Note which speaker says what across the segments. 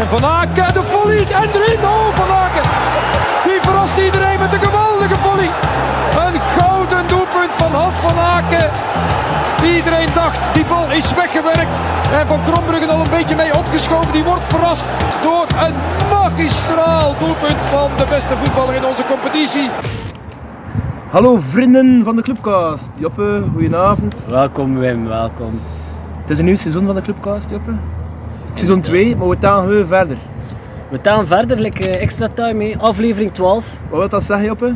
Speaker 1: En Van Aken, de volley. En erin. Oh, Van Aken. Die verrast iedereen met een geweldige volley. Een gouden doelpunt van Hans van Aken. Iedereen dacht, die bal is weggewerkt. En Van Krombruggen al een beetje mee opgeschoven. Die wordt verrast door een magistraal doelpunt van de beste voetballer in onze competitie.
Speaker 2: Hallo vrienden van de Clubcast. Joppe, goedenavond.
Speaker 3: Welkom Wim, welkom.
Speaker 2: Het is een nieuw seizoen van de Clubcast, Joppe. Seizoen 2, maar we taan heel verder.
Speaker 3: We gaan verder, like, eh, extra time, hè. aflevering 12.
Speaker 2: Wat wil dat zeggen, Joppe?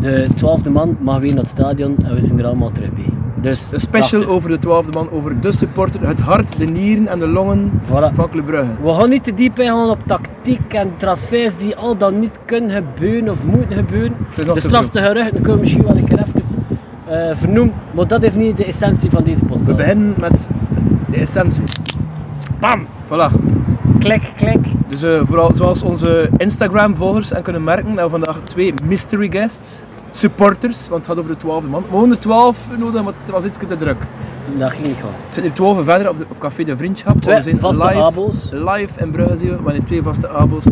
Speaker 3: De twaalfde man mag weer naar het stadion en we zijn er allemaal terug bij. Dus,
Speaker 2: Een special
Speaker 3: prachtig.
Speaker 2: over de twaalfde man, over de supporter, het hart, de nieren en de longen
Speaker 3: Voilà.
Speaker 2: van Club Brugge.
Speaker 3: We gaan niet te diep ingaan op tactiek en transfers die al dan niet kunnen gebeuren of moeten gebeuren.
Speaker 2: is
Speaker 3: De
Speaker 2: nog te
Speaker 3: dus lastige geruchten kunnen we misschien wel een keer even eh, vernoemen. Maar dat is niet de essentie van deze podcast.
Speaker 2: We beginnen met de essentie.
Speaker 3: Bam!
Speaker 2: Voilà.
Speaker 3: Klik, klik.
Speaker 2: Dus eh, vooral zoals onze Instagram-volgers en kunnen merken, hebben we vandaag twee mystery guests. Supporters, want het gaat over de twaalfde man. Maar 112 nodig, want het was iets te druk.
Speaker 3: Dat ging niet gewoon.
Speaker 2: We zitten hier 12 verder op, de, op Café de Vriendschap.
Speaker 3: Twee
Speaker 2: we zijn
Speaker 3: vaste
Speaker 2: live,
Speaker 3: abo's.
Speaker 2: live in Brugge zien we, we hebben twee vaste abo's.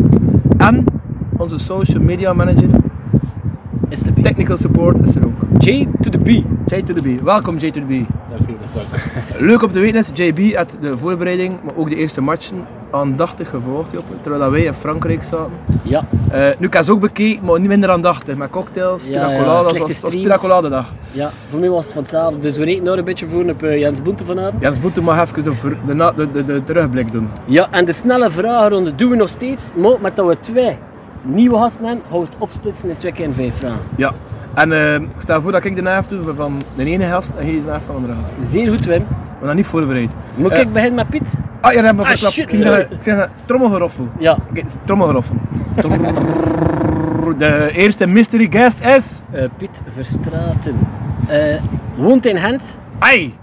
Speaker 2: En onze social media manager,
Speaker 3: Is de B.
Speaker 2: technical support is er ook.
Speaker 3: J to the B.
Speaker 2: J to the B. Welkom J to the B.
Speaker 3: Dank
Speaker 2: Leuk om te weten is, JB had de voorbereiding, maar ook de eerste matchen aandachtig gevolgd, Joppe, terwijl dat wij in Frankrijk zaten.
Speaker 3: Ja,
Speaker 2: Eh nu kan ze ook bekeken, maar niet minder aandachtig. Met cocktails,
Speaker 3: Ja,
Speaker 2: pina
Speaker 3: ja,
Speaker 2: coladas.
Speaker 3: slechte
Speaker 2: Het was, was
Speaker 3: streams.
Speaker 2: pina colada dag.
Speaker 3: ja, voor mij was het van hetzelfde. Dus we rekenen daar een beetje voor op eh, Jens Boente vanavond.
Speaker 2: Jens Boete mag even de, ver- de, na- de, de, de terugblik doen.
Speaker 3: Ja, en de snelle vragenronde doen we nog steeds, maar met dat we twee nieuwe gasten hebben, gaan we het opsplitsen in twee keer in vijf vragen.
Speaker 2: Ja. En eh, ik stel voor dat ik de naaf doe van- van de ene gast en jij de naaf van de andere gast.
Speaker 3: Zeer goed, Wim.
Speaker 2: We zijn niet voorbereid.
Speaker 3: Moet
Speaker 2: Eh.
Speaker 3: ik beginnen met Piet?
Speaker 2: Ah, je hebt me
Speaker 3: Ah,
Speaker 2: verklapt.
Speaker 3: shit,
Speaker 2: Ik zeg,
Speaker 3: sorry.
Speaker 2: ik zeg, trommelgeroffel.
Speaker 3: Ja.
Speaker 2: Oké, het is trommelgeroffel. Trrrr. De eerste mystery guest is...
Speaker 3: Eh, Piet Verstraten. Eh, woont in Gent.
Speaker 2: Ai!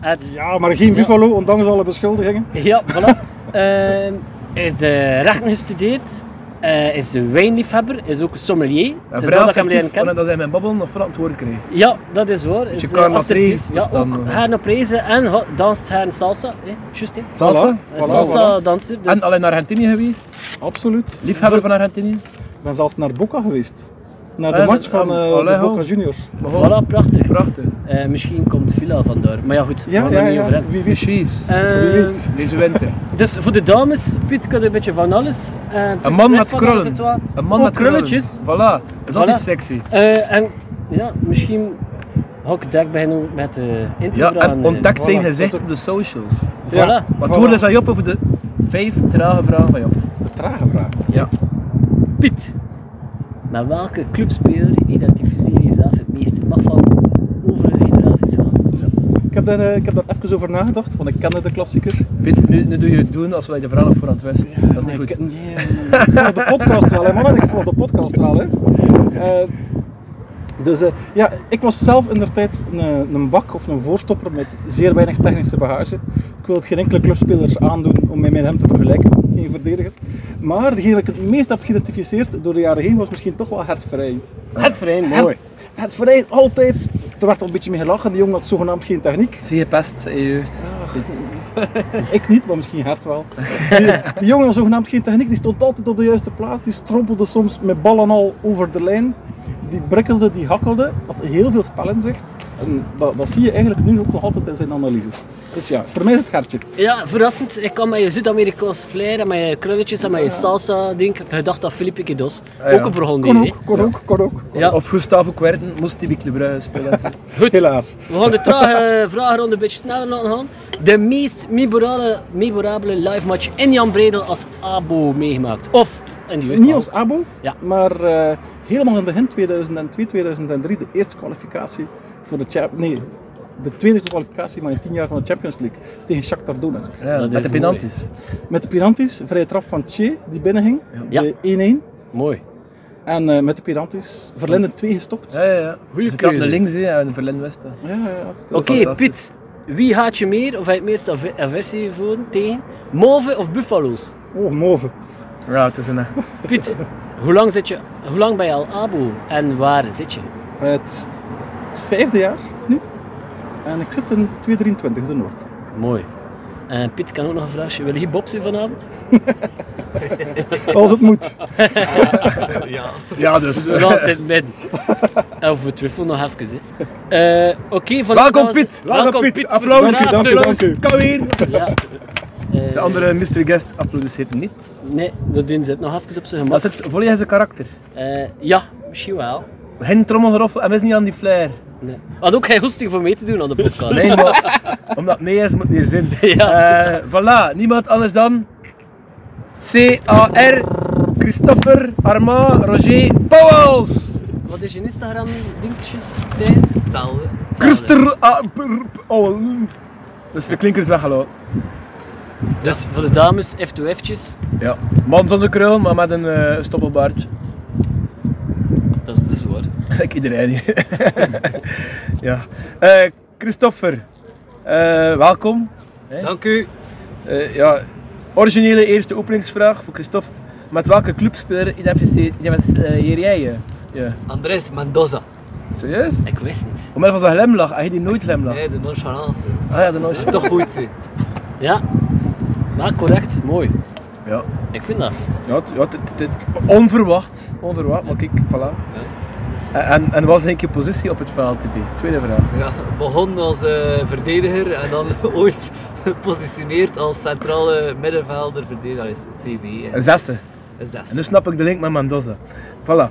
Speaker 3: Uit... Ja.
Speaker 4: Ja, maar geen Buffalo, ondanks alle beschuldigingen.
Speaker 3: voilà. Ehm, is eh, rechten gestudeerd. eh, is een wijnliefhebber. Is ook een sommelier.
Speaker 2: Ja,
Speaker 3: Dus
Speaker 2: vrij
Speaker 3: dat ik hem leren
Speaker 2: assertief,
Speaker 3: kennen.
Speaker 2: omdat hij mijn babbel nog van het woord kreeg.
Speaker 3: Ja, dat is waar. Is,
Speaker 2: je
Speaker 3: eh,
Speaker 2: Carla
Speaker 3: assertief.
Speaker 2: Dreef, dus
Speaker 3: Ja,
Speaker 2: dan,
Speaker 3: ook
Speaker 2: eh.
Speaker 3: haar op reizen en ho- danst haar salsa. Eh, juist, hè.
Speaker 2: Salsa.
Speaker 4: Voilà,
Speaker 3: Een salsa danser. Dus...
Speaker 2: En al in Argentinië geweest.
Speaker 4: Absoluut.
Speaker 2: Liefhebber van Argentinië.
Speaker 4: Ik ben zelfs naar Boca geweest. Naar
Speaker 2: Ah,
Speaker 4: de match van
Speaker 2: aan-
Speaker 4: eh, de
Speaker 2: Alejo.
Speaker 4: Boca Juniors.
Speaker 3: Voilà, prachtig.
Speaker 2: Prachtig.
Speaker 3: Eh, misschien komt Villa vandaar. Maar ja, goed, we
Speaker 4: Ja,
Speaker 3: gaan
Speaker 4: ja,
Speaker 3: er niet over
Speaker 4: ja.
Speaker 3: hebben.
Speaker 4: Wie wist.
Speaker 2: Precies.
Speaker 3: Eh,
Speaker 4: Wie weet.
Speaker 2: Deze winter.
Speaker 3: dus voor de dames, Piet kan een beetje van alles. Eh, Piet
Speaker 2: Een man
Speaker 3: weet
Speaker 2: met
Speaker 3: van alles
Speaker 2: krullen.
Speaker 3: het wel.
Speaker 2: Een man
Speaker 3: Ook
Speaker 2: met
Speaker 3: krulletjes.
Speaker 2: krullen. Voilà. Dat is altijd
Speaker 3: Voilà.
Speaker 2: sexy.
Speaker 3: Eh, en ja, misschien ga ik direct beginnen met de intro eh,
Speaker 2: Ja, en ontdekt zijn
Speaker 4: voilà.
Speaker 2: gezicht
Speaker 4: Dat is
Speaker 2: op de socials.
Speaker 3: Voilà.
Speaker 4: Ja.
Speaker 2: Wat
Speaker 4: Voilà.
Speaker 2: hoorde is aan Job over de vijf trage vragen van Job?
Speaker 4: De trage vraag.
Speaker 3: Piet, met welke clubspeler identificeer je jezelf het meest? Het mag van overige generaties wel.
Speaker 4: Ik heb, daar, eh, ik heb daar even over nagedacht, want ik kende de klassieker.
Speaker 2: Piet, nu, nu doe je het doen als wij de vraag nog voor aan het west. dat is niet
Speaker 4: Maar
Speaker 2: goed.
Speaker 4: ik- nee, ik volg de podcast wel, hè, mannen. Ik volg de podcast wel, hè. Eh, dus eh, ja, ik was zelf in der tijd een, eh, een bak of een voorstopper met zeer weinig technische bagage. Ik wil het geen enkele clubspelers aandoen om mij met hem te vergelijken, geen verdediger. Maar degene die ik het meest heb geïdentificeerd door de jaren heen was misschien toch wel Hert Verheyen.
Speaker 3: Het vreemd, mooi.
Speaker 4: Hert Verheyen, altijd, er werd al een beetje mee gelachen, die jongen had zogenaamd geen techniek.
Speaker 2: Zie je pest in je jeugd?
Speaker 4: Ik niet, maar misschien Hert wel. Die, die jongen had zogenaamd geen techniek, die stond altijd op de juiste plaats. Die strompelde soms met ballen al over de lijn. Die brikkelde, die hakkelde, had heel veel spel in zicht. En dat, dat zie je eigenlijk nu ook nog altijd in zijn analyses. Dus ja, voor mij is het Gertje.
Speaker 3: Ja, verrassend. Ik kan met je Zuid-Amerikaans flair en met je krulletjes en met je salsa ding. Ik dacht dat Felipe Kidos
Speaker 2: Ah, ja.
Speaker 3: ook een Burgondier.
Speaker 4: Kon
Speaker 3: hè.
Speaker 4: ook, kon ook, kon ook.
Speaker 3: Ja.
Speaker 2: Of Gustavo Kwerten moest die Club Brugge spelen.
Speaker 3: Goed,
Speaker 4: Helaas.
Speaker 3: we gaan de trage vragenronde een beetje sneller laten gaan. De meest memorale, memorabele live match in Jan Bredel als abo meegemaakt. Of in de jeugd.
Speaker 4: Niet als abo,
Speaker 3: Ja.
Speaker 4: maar eh, helemaal in het begin 2002, 2003, de eerste kwalificatie voor de cha- Nee, de tweede kwalificatie maar in tien jaar van de Champions League tegen Shakhtar Donetsk.
Speaker 2: ja,
Speaker 3: Dat
Speaker 2: met de
Speaker 3: is
Speaker 2: penalties.
Speaker 4: Met de Pirantis, vrije trap van Che die binnenging,
Speaker 3: Ja.
Speaker 4: de 1-1.
Speaker 3: Mooi.
Speaker 4: En eh, met de Pirantis, Verlinden 2 gestopt.
Speaker 2: Ja, ja, ja.
Speaker 3: Goeie
Speaker 2: Ze trappen naar
Speaker 3: keuze.
Speaker 2: links hè, en Verlin Westen.
Speaker 4: Ja, ja, ja. Dat
Speaker 3: Oké,
Speaker 4: is-
Speaker 2: fantastisch.
Speaker 3: Piet. Wie haat je meer of heb je het meest aver- aversie voor tegen? Mauve of Buffalo's?
Speaker 4: Oh, move.
Speaker 2: Ja, het is een...
Speaker 3: Piet, hoe lang, zit je, hoe lang ben je al abo en waar zit je?
Speaker 4: Eh, het is het vijfde jaar nu. En ik zit in 223, de Noord.
Speaker 3: Mooi. En Piet kan ook nog een vraagje. Wil je Bob zien vanavond?
Speaker 4: Als het moet.
Speaker 5: Ja.
Speaker 2: Ja, dus.
Speaker 3: We laten het midden. Of we twijfelen nog even. Hè. Eh, Oké, van
Speaker 2: Welkom Piet.
Speaker 3: Welkom Piet.
Speaker 2: Applaus.
Speaker 4: Dank u, dank u, dank u.
Speaker 2: Kom hier.
Speaker 3: Ja. Eh,
Speaker 2: De andere mystery guest applaudisseert niet.
Speaker 3: Nee, dat doen ze het nog even op zijn gemak.
Speaker 2: Dat zit volledig in zijn karakter.
Speaker 3: Eh, ja, misschien wel.
Speaker 2: Geen trommelgeroffel en we is niet aan die flair.
Speaker 3: Nee. Had ook geen goesting voor mee te doen aan de podcast.
Speaker 2: Nee, maar omdat het nee is, moet het hier zin.
Speaker 3: Ja.
Speaker 2: Eh, voilà, niemand anders dan C.A.R. Christopher Armand Roger Pauwels.
Speaker 3: Wat is je Instagram dingetjes, Thijs?
Speaker 5: Hetzelfde.
Speaker 2: Christer A- P- P- Owl. Dus de klinker is weggelopen.
Speaker 3: Dus voor de dames, F2F'tjes,
Speaker 2: Ja. Man zonder krul, maar met een eh, stoppelbaardje.
Speaker 3: dat is, dat is waar.
Speaker 2: Gek iedereen hier. ja. Eh, Christopher, eh, welkom.
Speaker 5: Dank u.
Speaker 2: Eh, ja, originele eerste openingsvraag voor Christophe. Met welke clubspeler identificeer identificeer jij je? Ja.
Speaker 5: Andres Mendoza.
Speaker 2: Serieus?
Speaker 3: Ik wist niet.
Speaker 2: Omwille van zijn glimlach, hij die nooit glimlach.
Speaker 5: Nee, de nonchalance.
Speaker 2: Ah ja, de noosje.
Speaker 5: Toch goed zie.
Speaker 3: Ja, maar correct, mooi.
Speaker 2: Ja,
Speaker 3: Ik vind dat.
Speaker 2: ja, het- ja, het- het- het- onverwacht. Onverwacht, maar kijk, voilà. En, en, en wat is eigenlijk je positie op het veld, Titi? Tweede vraag.
Speaker 5: Ja, begon als eh, verdediger en dan ooit gepositioneerd als centrale middenvelder verdediger. Dat is CV.
Speaker 2: Een zessen.
Speaker 5: Een zes.
Speaker 2: En dus- nu snap ik de link met Mendoza. Voilà.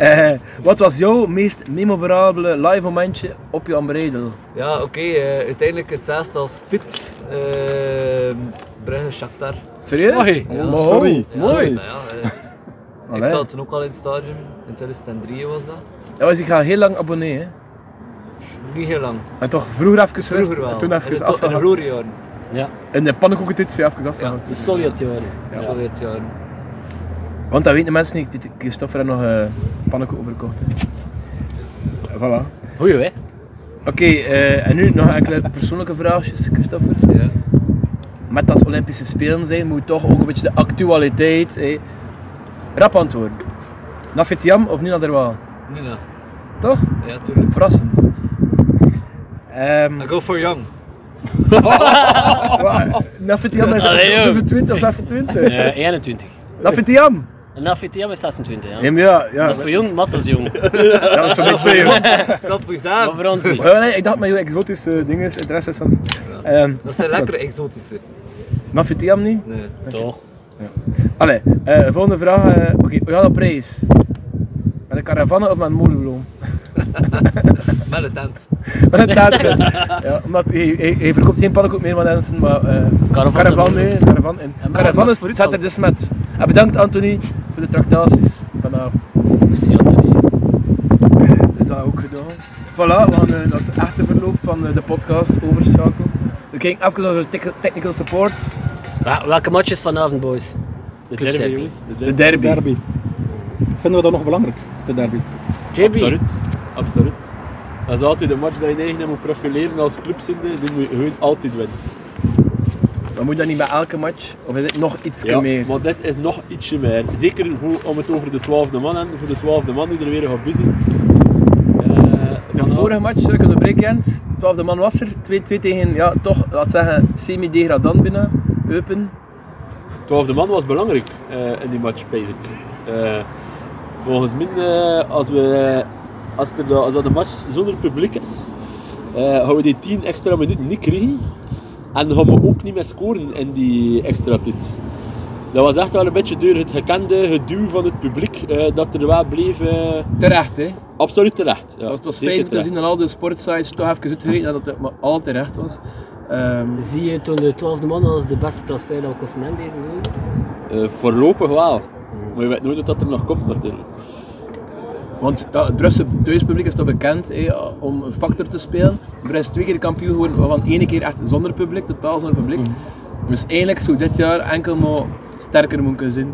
Speaker 2: Eh, wat was jouw meest memorabele live momentje op je Ambredel?
Speaker 5: Ja, oké. eh, uiteindelijk het zesde als Pit. eh, Brugge Shakhtar.
Speaker 2: Serieus?
Speaker 3: Mooi.
Speaker 2: Ja.
Speaker 4: Sorry.
Speaker 5: Ja,
Speaker 4: Sorry.
Speaker 5: nou ja, eh, ik
Speaker 2: Allee.
Speaker 5: zat toen ook al in het stadion. In 2003 was dat.
Speaker 2: Ja, was ik ga heel lang abonneren. hè.
Speaker 5: Niet heel lang.
Speaker 2: En toch vroeger even
Speaker 5: Vroeger
Speaker 2: gerust,
Speaker 5: wel.
Speaker 2: en toen
Speaker 5: in
Speaker 2: even
Speaker 5: de, to- in de
Speaker 2: afgehaald.
Speaker 5: roerjaren.
Speaker 3: Ja,
Speaker 2: In de pannenkoeketitie even afgehaald.
Speaker 3: de Sovjet-jaren. Ja.
Speaker 5: Sovjetjaren.
Speaker 2: Want dat weten de mensen niet, dat Christopher heeft nog eh pannenkoek overkocht. hè. En Voilà.
Speaker 3: Goeie, hè?
Speaker 2: Oké, eh, en nu nog enkele persoonlijke vraagjes, Christopher.
Speaker 5: Ja.
Speaker 2: Met dat Olympische Spelen zijn, moet toch ook een beetje de actualiteit... eh, rap antwoorden. Nafitiam of Nina Derwaal?
Speaker 5: Nina.
Speaker 2: Toch?
Speaker 5: Ja, tuurlijk.
Speaker 2: Verrassend. Ehm
Speaker 5: I go for young.
Speaker 2: wa- Nafitiam is
Speaker 3: Allee, joh.
Speaker 2: 25 of 26.
Speaker 3: Eh, 21.
Speaker 2: Nafitiam!
Speaker 3: En na VTM is 26, ja.
Speaker 2: Ja, maar ja, ja.
Speaker 3: Dat is voor jong, masters jong.
Speaker 2: Ja, dat is voor mij twee, joh.
Speaker 5: Knap voor
Speaker 3: Maar voor ons niet.
Speaker 2: Maar ja, nee, ik dacht met jouw exotische dingen, interesses dan. Ehm,
Speaker 5: Dat zijn
Speaker 2: zo.
Speaker 5: lekkere exotische.
Speaker 2: Nafitiam niet?
Speaker 5: Nee.
Speaker 3: Toch?
Speaker 2: Allee, eh, volgende vraag. eh, Oké, we gaan op reis. Met een caravanne of met een molenbloem?
Speaker 5: Met een tent.
Speaker 2: Met een taartpunt. ja, omdat hij, hij, hij verkoopt geen pannenkoek meer van mensen, maar eh
Speaker 3: Caravan
Speaker 2: caravan,
Speaker 3: en
Speaker 2: nee,
Speaker 3: molenbloem.
Speaker 2: caravan. En
Speaker 3: maar
Speaker 2: caravan
Speaker 3: dat
Speaker 2: is
Speaker 3: is vooruit
Speaker 2: zat er dus met. En bedankt Anthony voor de tractaties vanavond.
Speaker 3: Merci, Anthony.
Speaker 2: Is dat ook gedaan? Voilà, we gaan eh, naar het echte verloop van eh, de podcast overschakelen. We kijken even naar de tec- technical support,
Speaker 3: Wel- Welke matches vanavond, boys?
Speaker 6: De
Speaker 3: Club
Speaker 6: derby,
Speaker 3: Circle.
Speaker 6: jongens. De
Speaker 2: de
Speaker 6: derby.
Speaker 2: derby.
Speaker 4: Derby. Vinden we dat nog belangrijk, de derby?
Speaker 3: JB.
Speaker 6: Absoluut. Absoluut. Dat is altijd een match dat je eigen in moet profileren als clubzinde. Die moet je gewoon altijd winnen.
Speaker 2: Maar moet dat niet bij elke match? Of is het nog iets
Speaker 6: Ja,
Speaker 2: meer?
Speaker 6: maar dit is nog ietsje meer. Zeker voor, om het over de twaalfde man en voor de twaalfde man die er weer gaat bezig.
Speaker 2: De vorige match, sorry, ik onderbreek Jens, 12e man was er, 2-2 tegen, ja toch, laat zeggen, semi-degradant binnen, Eupen.
Speaker 6: twaalfde man was belangrijk eh, in die match, basic. Eh volgens mij, eh, als, we, als, er, da- als dat een match zonder publiek is, eh, gaan we die 10 extra minuten niet krijgen. En dan gaan we ook niet meer scoren in die extra tijd. Dat was echt wel een beetje door het gekende geduw van het publiek eh, dat er wel bleef. eh,
Speaker 2: Terecht hè.
Speaker 6: absoluut terecht. Ja,
Speaker 2: Dat was, het was
Speaker 6: zeker
Speaker 2: fijn te
Speaker 6: terecht.
Speaker 2: zien dat al de sportsites toch even uitgereden dat het maar al terecht was. Ehm,
Speaker 3: Zie je toen de 12e man als de beste transfer dat we kosten hebben deze zomer?
Speaker 6: Eh, voorlopig wel. Maar je weet nooit wat dat er nog komt natuurlijk.
Speaker 2: want ja, het Brusselse thuispubliek is toch bekend hè, om een factor te spelen. Brest is twee keer kampioen geworden, waarvan één keer echt zonder publiek, totaal zonder publiek. Dus eigenlijk zou dit jaar enkel maar sterker moeten zijn.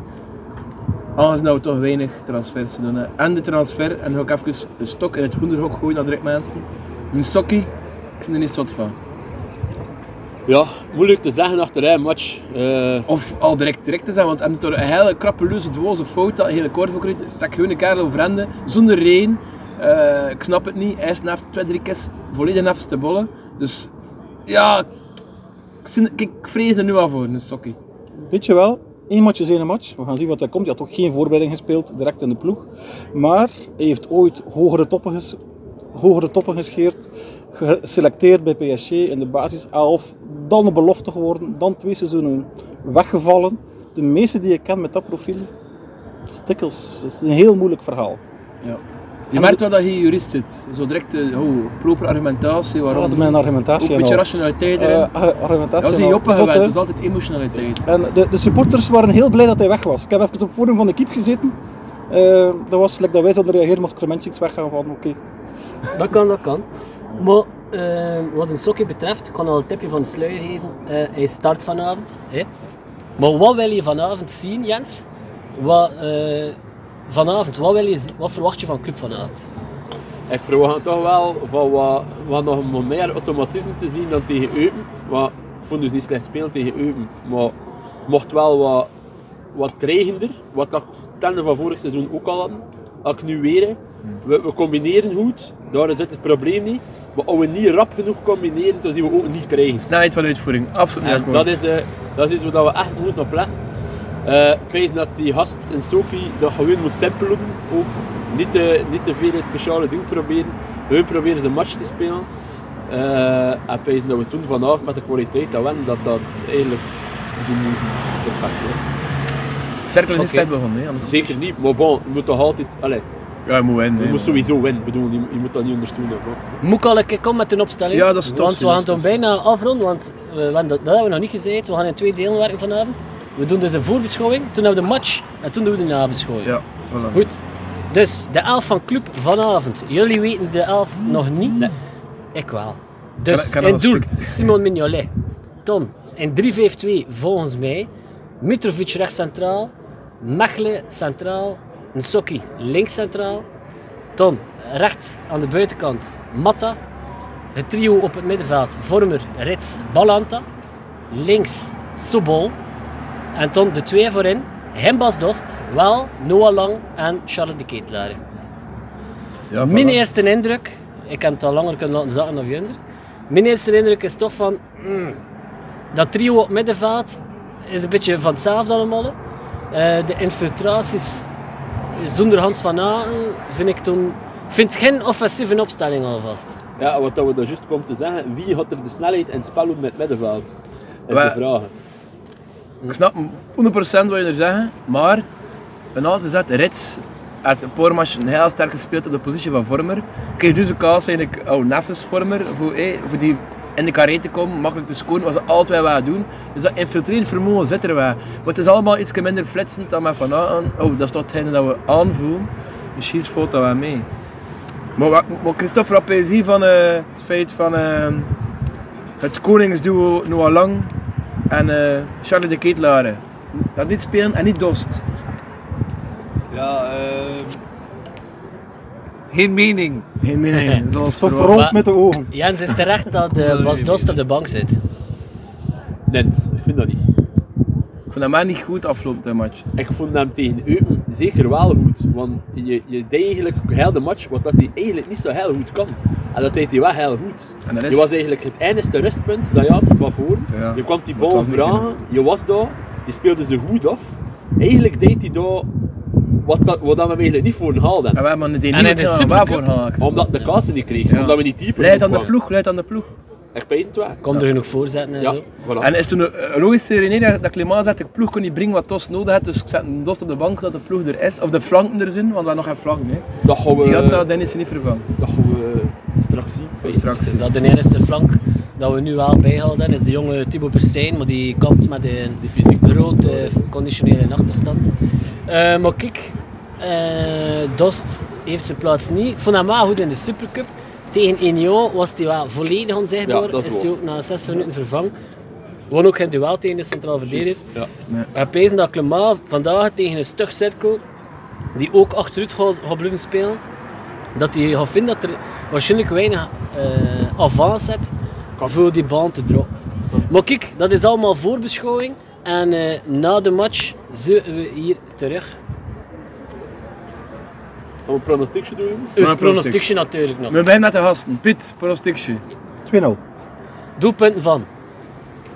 Speaker 2: Aangezien dat we toch weinig transfers doen. hè. En de transfer, en dan ga ik even een stok in het hoenderhok gooien naar direct mensen. Mijn sokkie, ik ben er niet zot van.
Speaker 6: Ja, moeilijk te zeggen achter een match. Eh,
Speaker 2: Of al direct direct te zijn, want hij heeft door een hele krappeleuze, dwaze fout, dat hele kort voor kreeg, dat ik gewoon een kerel overende, zonder reden. Eh, ik snap het niet, hij snapt twee, drie keer volledig nefs te bollen. Dus Ja, ik, zin- ik- ik vrees er nu al voor, een sokkie.
Speaker 4: Weet je wel, één match is één match. We gaan zien wat er komt. Hij had ook geen voorbereiding gespeeld, direct in de ploeg. Maar hij heeft ooit hogere toppen, ges- hogere toppen gescheerd. Geselecteerd bij PSG in de basis 11. Dan de belofte geworden. Dan twee seizoenen weggevallen. De meeste die ik ken met dat profiel, stikkels. Dat is een heel moeilijk verhaal.
Speaker 2: Je merkt wel dat je jurist zit. Zo direct eh oh, proper argumentatie, waarom...
Speaker 4: Wat mijn
Speaker 2: ook
Speaker 4: argumentatie
Speaker 2: een
Speaker 4: en
Speaker 2: beetje
Speaker 4: al.
Speaker 2: rationaliteit erin.
Speaker 4: Eh, ar-
Speaker 2: dat
Speaker 4: argumentatie
Speaker 2: was
Speaker 4: en
Speaker 2: in
Speaker 4: al.
Speaker 2: Joppe
Speaker 4: Zot,
Speaker 2: gewend,
Speaker 4: hè?
Speaker 2: dat is altijd emotionaliteit.
Speaker 4: En de, de supporters waren heel blij dat hij weg was. Ik heb even op het forum van de kip gezeten. Eh, dat was like dat wij zouden reageren mocht Krementjiks weggaan van oké.
Speaker 3: Dat kan, dat kan. Maar eh, wat een sokje betreft, ik kan al een tipje van de sluier geven. Eh, hij start vanavond. Hè? Maar wat wil je vanavond zien, Jens? Wat, eh, vanavond, wat, wil je, zi- wat verwacht je van club vanavond?
Speaker 6: Ik verwacht toch wel van wat, wat nog wat meer automatisme te zien dan tegen Eupen. Want ik vond dus niet slecht spelen tegen Eupen, maar het mocht wel wat, wat dreigender. Wat dat tende van vorig seizoen ook al hadden. Acnueren. We, we combineren goed, daar zit het probleem niet. Maar als we niet rap genoeg combineren, dan zien we ook niet dreigen.
Speaker 2: Snelheid van uitvoering, absoluut
Speaker 6: En
Speaker 2: akkoord.
Speaker 6: dat is, eh, dat is iets waar we echt moeten op letten. Eh, ik wijs dat die gast in Soki dat gewoon moet simpelen. Ook niet te, niet te veel speciale dingen proberen. Hun proberen ze match te spelen. Eh, en ik wijs dat we toen vanavond met de kwaliteit dat we hebben, dat dat eigenlijk zo moet perfect worden.
Speaker 2: Cerkel is niet
Speaker 3: Oké.
Speaker 2: slecht begonnen, hè. anders-
Speaker 6: Zeker niet, maar bon, je moet toch altijd... Allez,
Speaker 2: Ja, je moet winnen.
Speaker 6: je
Speaker 2: hè.
Speaker 6: moet sowieso winnen. Ik bedoel, je, je moet dat niet ondersteunen. hè.
Speaker 3: Moet ik al een keer komen met een opstelling?
Speaker 2: Ja, dat is tof,
Speaker 3: Want we
Speaker 2: dat is
Speaker 3: gaan het
Speaker 2: tof.
Speaker 3: bijna afronden, want eh, we, hebben dat, dat hebben we nog niet gezegd. We gaan in twee delen werken vanavond. We doen dus een voorbeschouwing, toen hebben we de match en toen doen we de nabeschouwing.
Speaker 2: Ja, voilà.
Speaker 3: Goed. Dus de elf van Club vanavond. Jullie weten de elf nog niet. Ik wel. Dus
Speaker 2: Kan- kan
Speaker 3: in
Speaker 2: dat
Speaker 3: doel
Speaker 2: aspect?
Speaker 3: Simon Mignolet. Tom, in 3-5-2 volgens mij. Mitrovic rechts centraal. Mechelen centraal. Nsokki links centraal. Ton rechts aan de buitenkant. Matta. Het trio op het middenveld. Vormer, Rits, Balanta. Links Sobol. En dan de twee voorin. Hembas Dost, Wel, Noah Lang en Charlotte de Ketelaere.
Speaker 2: Ja, voilà.
Speaker 3: Mijn eerste indruk, ik kan het al langer kunnen laten zakken of junder. Mijn eerste indruk is toch van, mm, dat trio op middenveld is een beetje van hetzelfde allemaal. hè. Eh, de infiltraties zonder Hans van Aken vind ik toen, vind geen offensieve opstelling alvast.
Speaker 6: Ja, wat dat we daar juist komen te zeggen, wie had er de snelheid in het spel met het middenveld? Dat is
Speaker 2: Wij-
Speaker 6: de vraag. hè.
Speaker 2: Ik snap 100% wat je er zeggen, maar een altijd zet Rits had een paar matchen heel sterk gespeeld op de positie van vormer. Kreeg dus een kaas eigenlijk oh, Neffens vormer voor, eh, voor die in de carré te komen, makkelijk te scoren, was dat altijd wel doen. Dus dat infiltrerend vermogen zit er wel. Maar het is allemaal iets minder flitsend dan met van aan. Oh, dat is toch hetgene dat we aanvoelen. Misschien valt dat wel mee. Maar wat, wat Christophe Rappé is hier van eh, het feit van eh, het koningsduo Noah Lang en eh Charlie de Ketelare. Dat niet spelen en niet Dost.
Speaker 5: Ja, ehm geen mening.
Speaker 2: Nee, nee, nee. Zoals
Speaker 4: Zo
Speaker 2: voor
Speaker 4: verrond met de ogen.
Speaker 3: Jens is terecht dat eh, Bas Dost op de bank zit.
Speaker 6: Net, ik vind dat niet.
Speaker 2: Ik vond dat maar niet goed afloopt, de match.
Speaker 6: Ik vond hem tegen Eupen zeker wel goed. Want je, je deed eigenlijk heel de match wat dat hij eigenlijk niet zo heel goed kan. En dat deed hij wel heel goed.
Speaker 2: En de rest-
Speaker 6: Je was eigenlijk het enigste rustpunt dat je had van voren.
Speaker 2: Ja,
Speaker 6: Je kwam die
Speaker 2: maar het
Speaker 6: bal
Speaker 2: was niet
Speaker 6: vragen,
Speaker 2: genoeg.
Speaker 6: je was daar, je speelde ze goed af. Eigenlijk deed hij daar wat, dat, wat dat we hem eigenlijk niet voor haalden.
Speaker 2: En we hebben het Oh,
Speaker 3: in de
Speaker 2: niet gedaan,
Speaker 3: Supercup-
Speaker 2: waarvoor gehaakt.
Speaker 6: Omdat de kassen niet kregen,
Speaker 2: Ja.
Speaker 6: omdat we niet dieper
Speaker 2: Leid aan
Speaker 6: genoeg
Speaker 2: de
Speaker 6: kwamen.
Speaker 2: ploeg, leid aan de ploeg.
Speaker 6: Ik pees het wel.
Speaker 3: Kom er genoeg voorzetten en
Speaker 6: Ja,
Speaker 3: zo.
Speaker 6: voilà.
Speaker 2: En is toen een een logische redenering dat- dat Clément zegt, de ploeg kon niet brengen wat Dost nodig had, dus ik zet een Dost op de bank dat de ploeg er is. Of de flanken er zijn, want we hebben nog geen flanken. Hè.
Speaker 6: dat gaan we,
Speaker 2: Die had dat Dennis niet vervangen.
Speaker 6: dat gaan we straks zien.
Speaker 2: Straks.
Speaker 3: Dus dat de eerste flank dat we nu wel bijhouden is de jonge Thibaut Persijn, maar die kampt met een
Speaker 6: Die fysiek.
Speaker 3: grote conditionele achterstand. Eh, maar kijk, eh, Dost heeft zijn plaats niet. Ik vond hem wel goed in de Supercup. Tegen Union was hij wel volledig onzichtbaar.
Speaker 6: Ja, dat is
Speaker 3: is hij
Speaker 6: waar.
Speaker 3: ook na 60 minuten vervangen. Won ook geen duel tegen de centraal verdedigers.
Speaker 6: Ja.
Speaker 3: We pezen dat Clement vandaag tegen een stug cirkel, die ook achteruit gaat, gaat blijven spelen, dat hij gaat vinden dat er waarschijnlijk weinig eh avans zit voor die baan te droppen. Maar kijk, dat is allemaal voorbeschouwing. En eh, na de match zijn we hier terug.
Speaker 6: Gaan we een pronostiekje doen? jongens?
Speaker 3: Een
Speaker 2: een pronostiek.
Speaker 3: pronostiekje natuurlijk nog.
Speaker 2: We beginnen met de gasten. Piet, pronostiekje.
Speaker 4: 2-0.
Speaker 3: Doelpunten van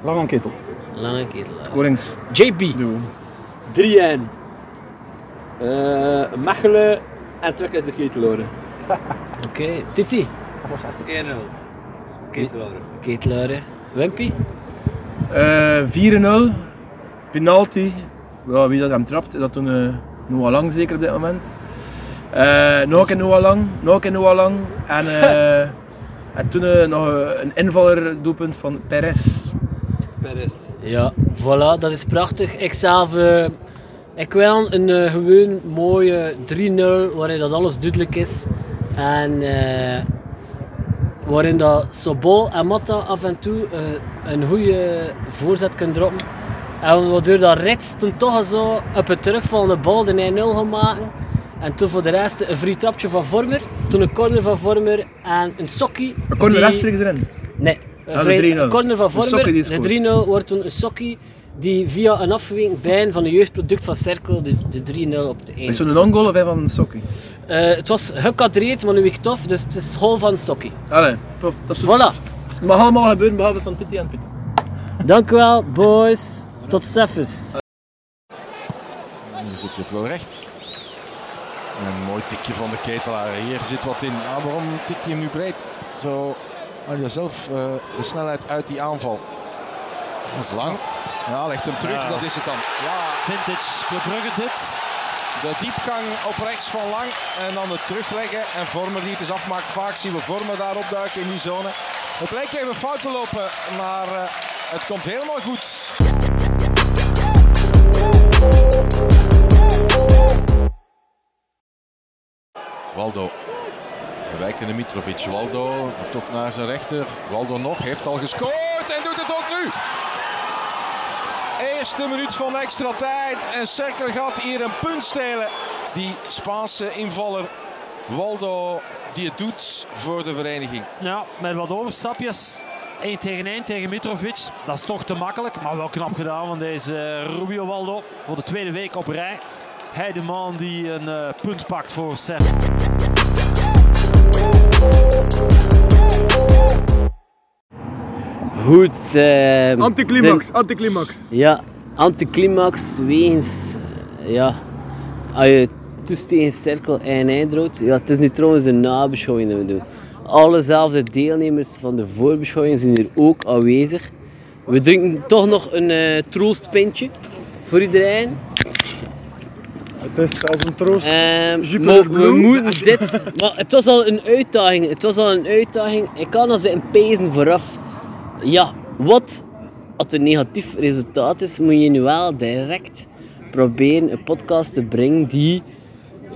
Speaker 4: Lang aan ketel.
Speaker 3: Lange Ketel.
Speaker 2: Konings.
Speaker 3: JB.
Speaker 2: Doe.
Speaker 6: 3-1. Eh, Mechelen en Twek is de geteloren.
Speaker 3: Oké. Titi.
Speaker 4: Of was dat?
Speaker 5: 1-0. Ketelaren.
Speaker 3: Ketelaar. Wimpy.
Speaker 2: Eh, 4-0. Penalty. Ja, wie dat hem trapt, dat toen eh Noah Lang zeker op dit moment. Eh nog een keer Noah Lang. Nog een keer Noah Lang. En, eh, en toen eh, nog eh, een invaller doelpunt van Perez.
Speaker 5: Perez.
Speaker 3: Ja, voilà, dat is prachtig. Ik zelf, eh, ik wil een eh, gewoon mooie 3-0 waarin dat alles duidelijk is. En eh, waarin dat Sobol en Matta af en toe eh, een goede voorzet kunnen droppen. En waardoor dat Rits toen toch zo op het terugvallende bal de 1-0 gaan maken. En toen voor de rest een vrij trapje van Vormer, toen een corner van Vormer en een sokkie.
Speaker 2: We konden
Speaker 3: die-
Speaker 2: rechtstreeks erin.
Speaker 3: Nee,
Speaker 2: Ah, de
Speaker 3: vrij-
Speaker 2: 3-0.
Speaker 3: corner van
Speaker 2: Een sokkie die
Speaker 3: Vormer.
Speaker 2: scoort.
Speaker 3: De 3-0 wordt toen een sokkie die via een afgeweken bijen van een jeugdproduct van Cerkel de, de 3-0 op de
Speaker 2: Is
Speaker 3: eind.
Speaker 2: zo'n non-goal of een van een sokkie?
Speaker 3: Eh, het was gekadreerd, maar nu weer tof, dus het is goal van Sokkie.
Speaker 2: Allee, tof. Dat is
Speaker 3: Voilà,
Speaker 2: Het mag allemaal gebeuren behalve van Titi en Piet.
Speaker 3: dank u wel, boys. Tot Seffes.
Speaker 7: Nu zit hij het wel recht. En een mooi tikje van de ketelaar. Hier zit wat in. Ah, waarom tik je hem nu breed? Zo haal je zelf eh, de snelheid uit die aanval. Dat is lang. Ja, legt hem terug. dat is het dan. Ja, vintage Club Brugge dit. De diepgang op rechts van Lang en dan het terugleggen. En Vormer die het eens afmaakt. Vaak zien we Vormer daar opduiken in die zone. Het lijkt even fout te lopen, maar eh, het komt helemaal goed. Waldo. We wijken de Mitrovic. Waldo of toch naar zijn rechter. Waldo nog, heeft al gescoord en doet het ook nu. Eerste minuut van extra tijd. En Cerkel gaat hier een punt stelen. Die Spaanse invaller Waldo, die het doet voor de vereniging.
Speaker 8: Ja, met wat overstapjes. 1 tegen 1 tegen Mitrovic. Dat is toch te makkelijk, maar wel knap gedaan van deze eh, Rubio Waldo. Voor de tweede week op rij. Hij de man die een eh, punt pakt voor Serre.
Speaker 3: Goed. ehm,
Speaker 2: Anticlimax, anticlimax.
Speaker 3: Ja, anticlimax wegens. eh, Ja, als je toest tegen cirkel en eindrood. Ja, het is nu trouwens een nabeschouwing dat we doen. Allezelfde deelnemers van de voorbeschouwing zijn hier ook aanwezig. We drinken toch nog een eh, troostpintje voor iedereen.
Speaker 4: Het is als een troost.
Speaker 3: Ehm,
Speaker 4: Jupiter
Speaker 3: maar we
Speaker 4: Blue.
Speaker 3: moeten dit. Maar het was al een uitdaging. Het was al een uitdaging. Ik kan als een pezen vooraf. Ja, wat als een negatief resultaat is, moet je nu wel direct proberen een podcast te brengen die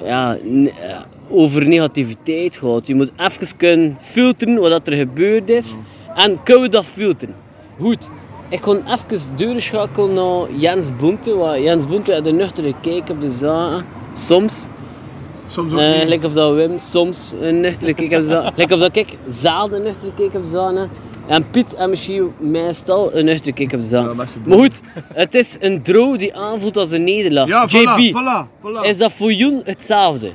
Speaker 3: ja, ne- eh, over negativiteit gaat. Je moet even kunnen filteren wat dat er gebeurd is. En kunnen we dat filteren? Goed. Ik kon even doorschakelen naar Jens Boente. Want Jens Boente had een nuchtere kijk op de zaken. Soms.
Speaker 2: Soms ook
Speaker 3: Eh,
Speaker 2: niet.
Speaker 3: Gelijk of dat Wim soms een nuchtere kijk op de zaken. Gelijk of dat ik zelden een nuchtere kijk op de zaken. En Piet en misschien meestal een nuchtere kijk op de zaken.
Speaker 2: Ja, maar ze doen.
Speaker 3: maar goed, het is een draw die aanvoelt als een nederlaag.
Speaker 2: Ja,
Speaker 3: JB,
Speaker 2: voilà, voilà, voilà.
Speaker 3: is dat voor jou hetzelfde?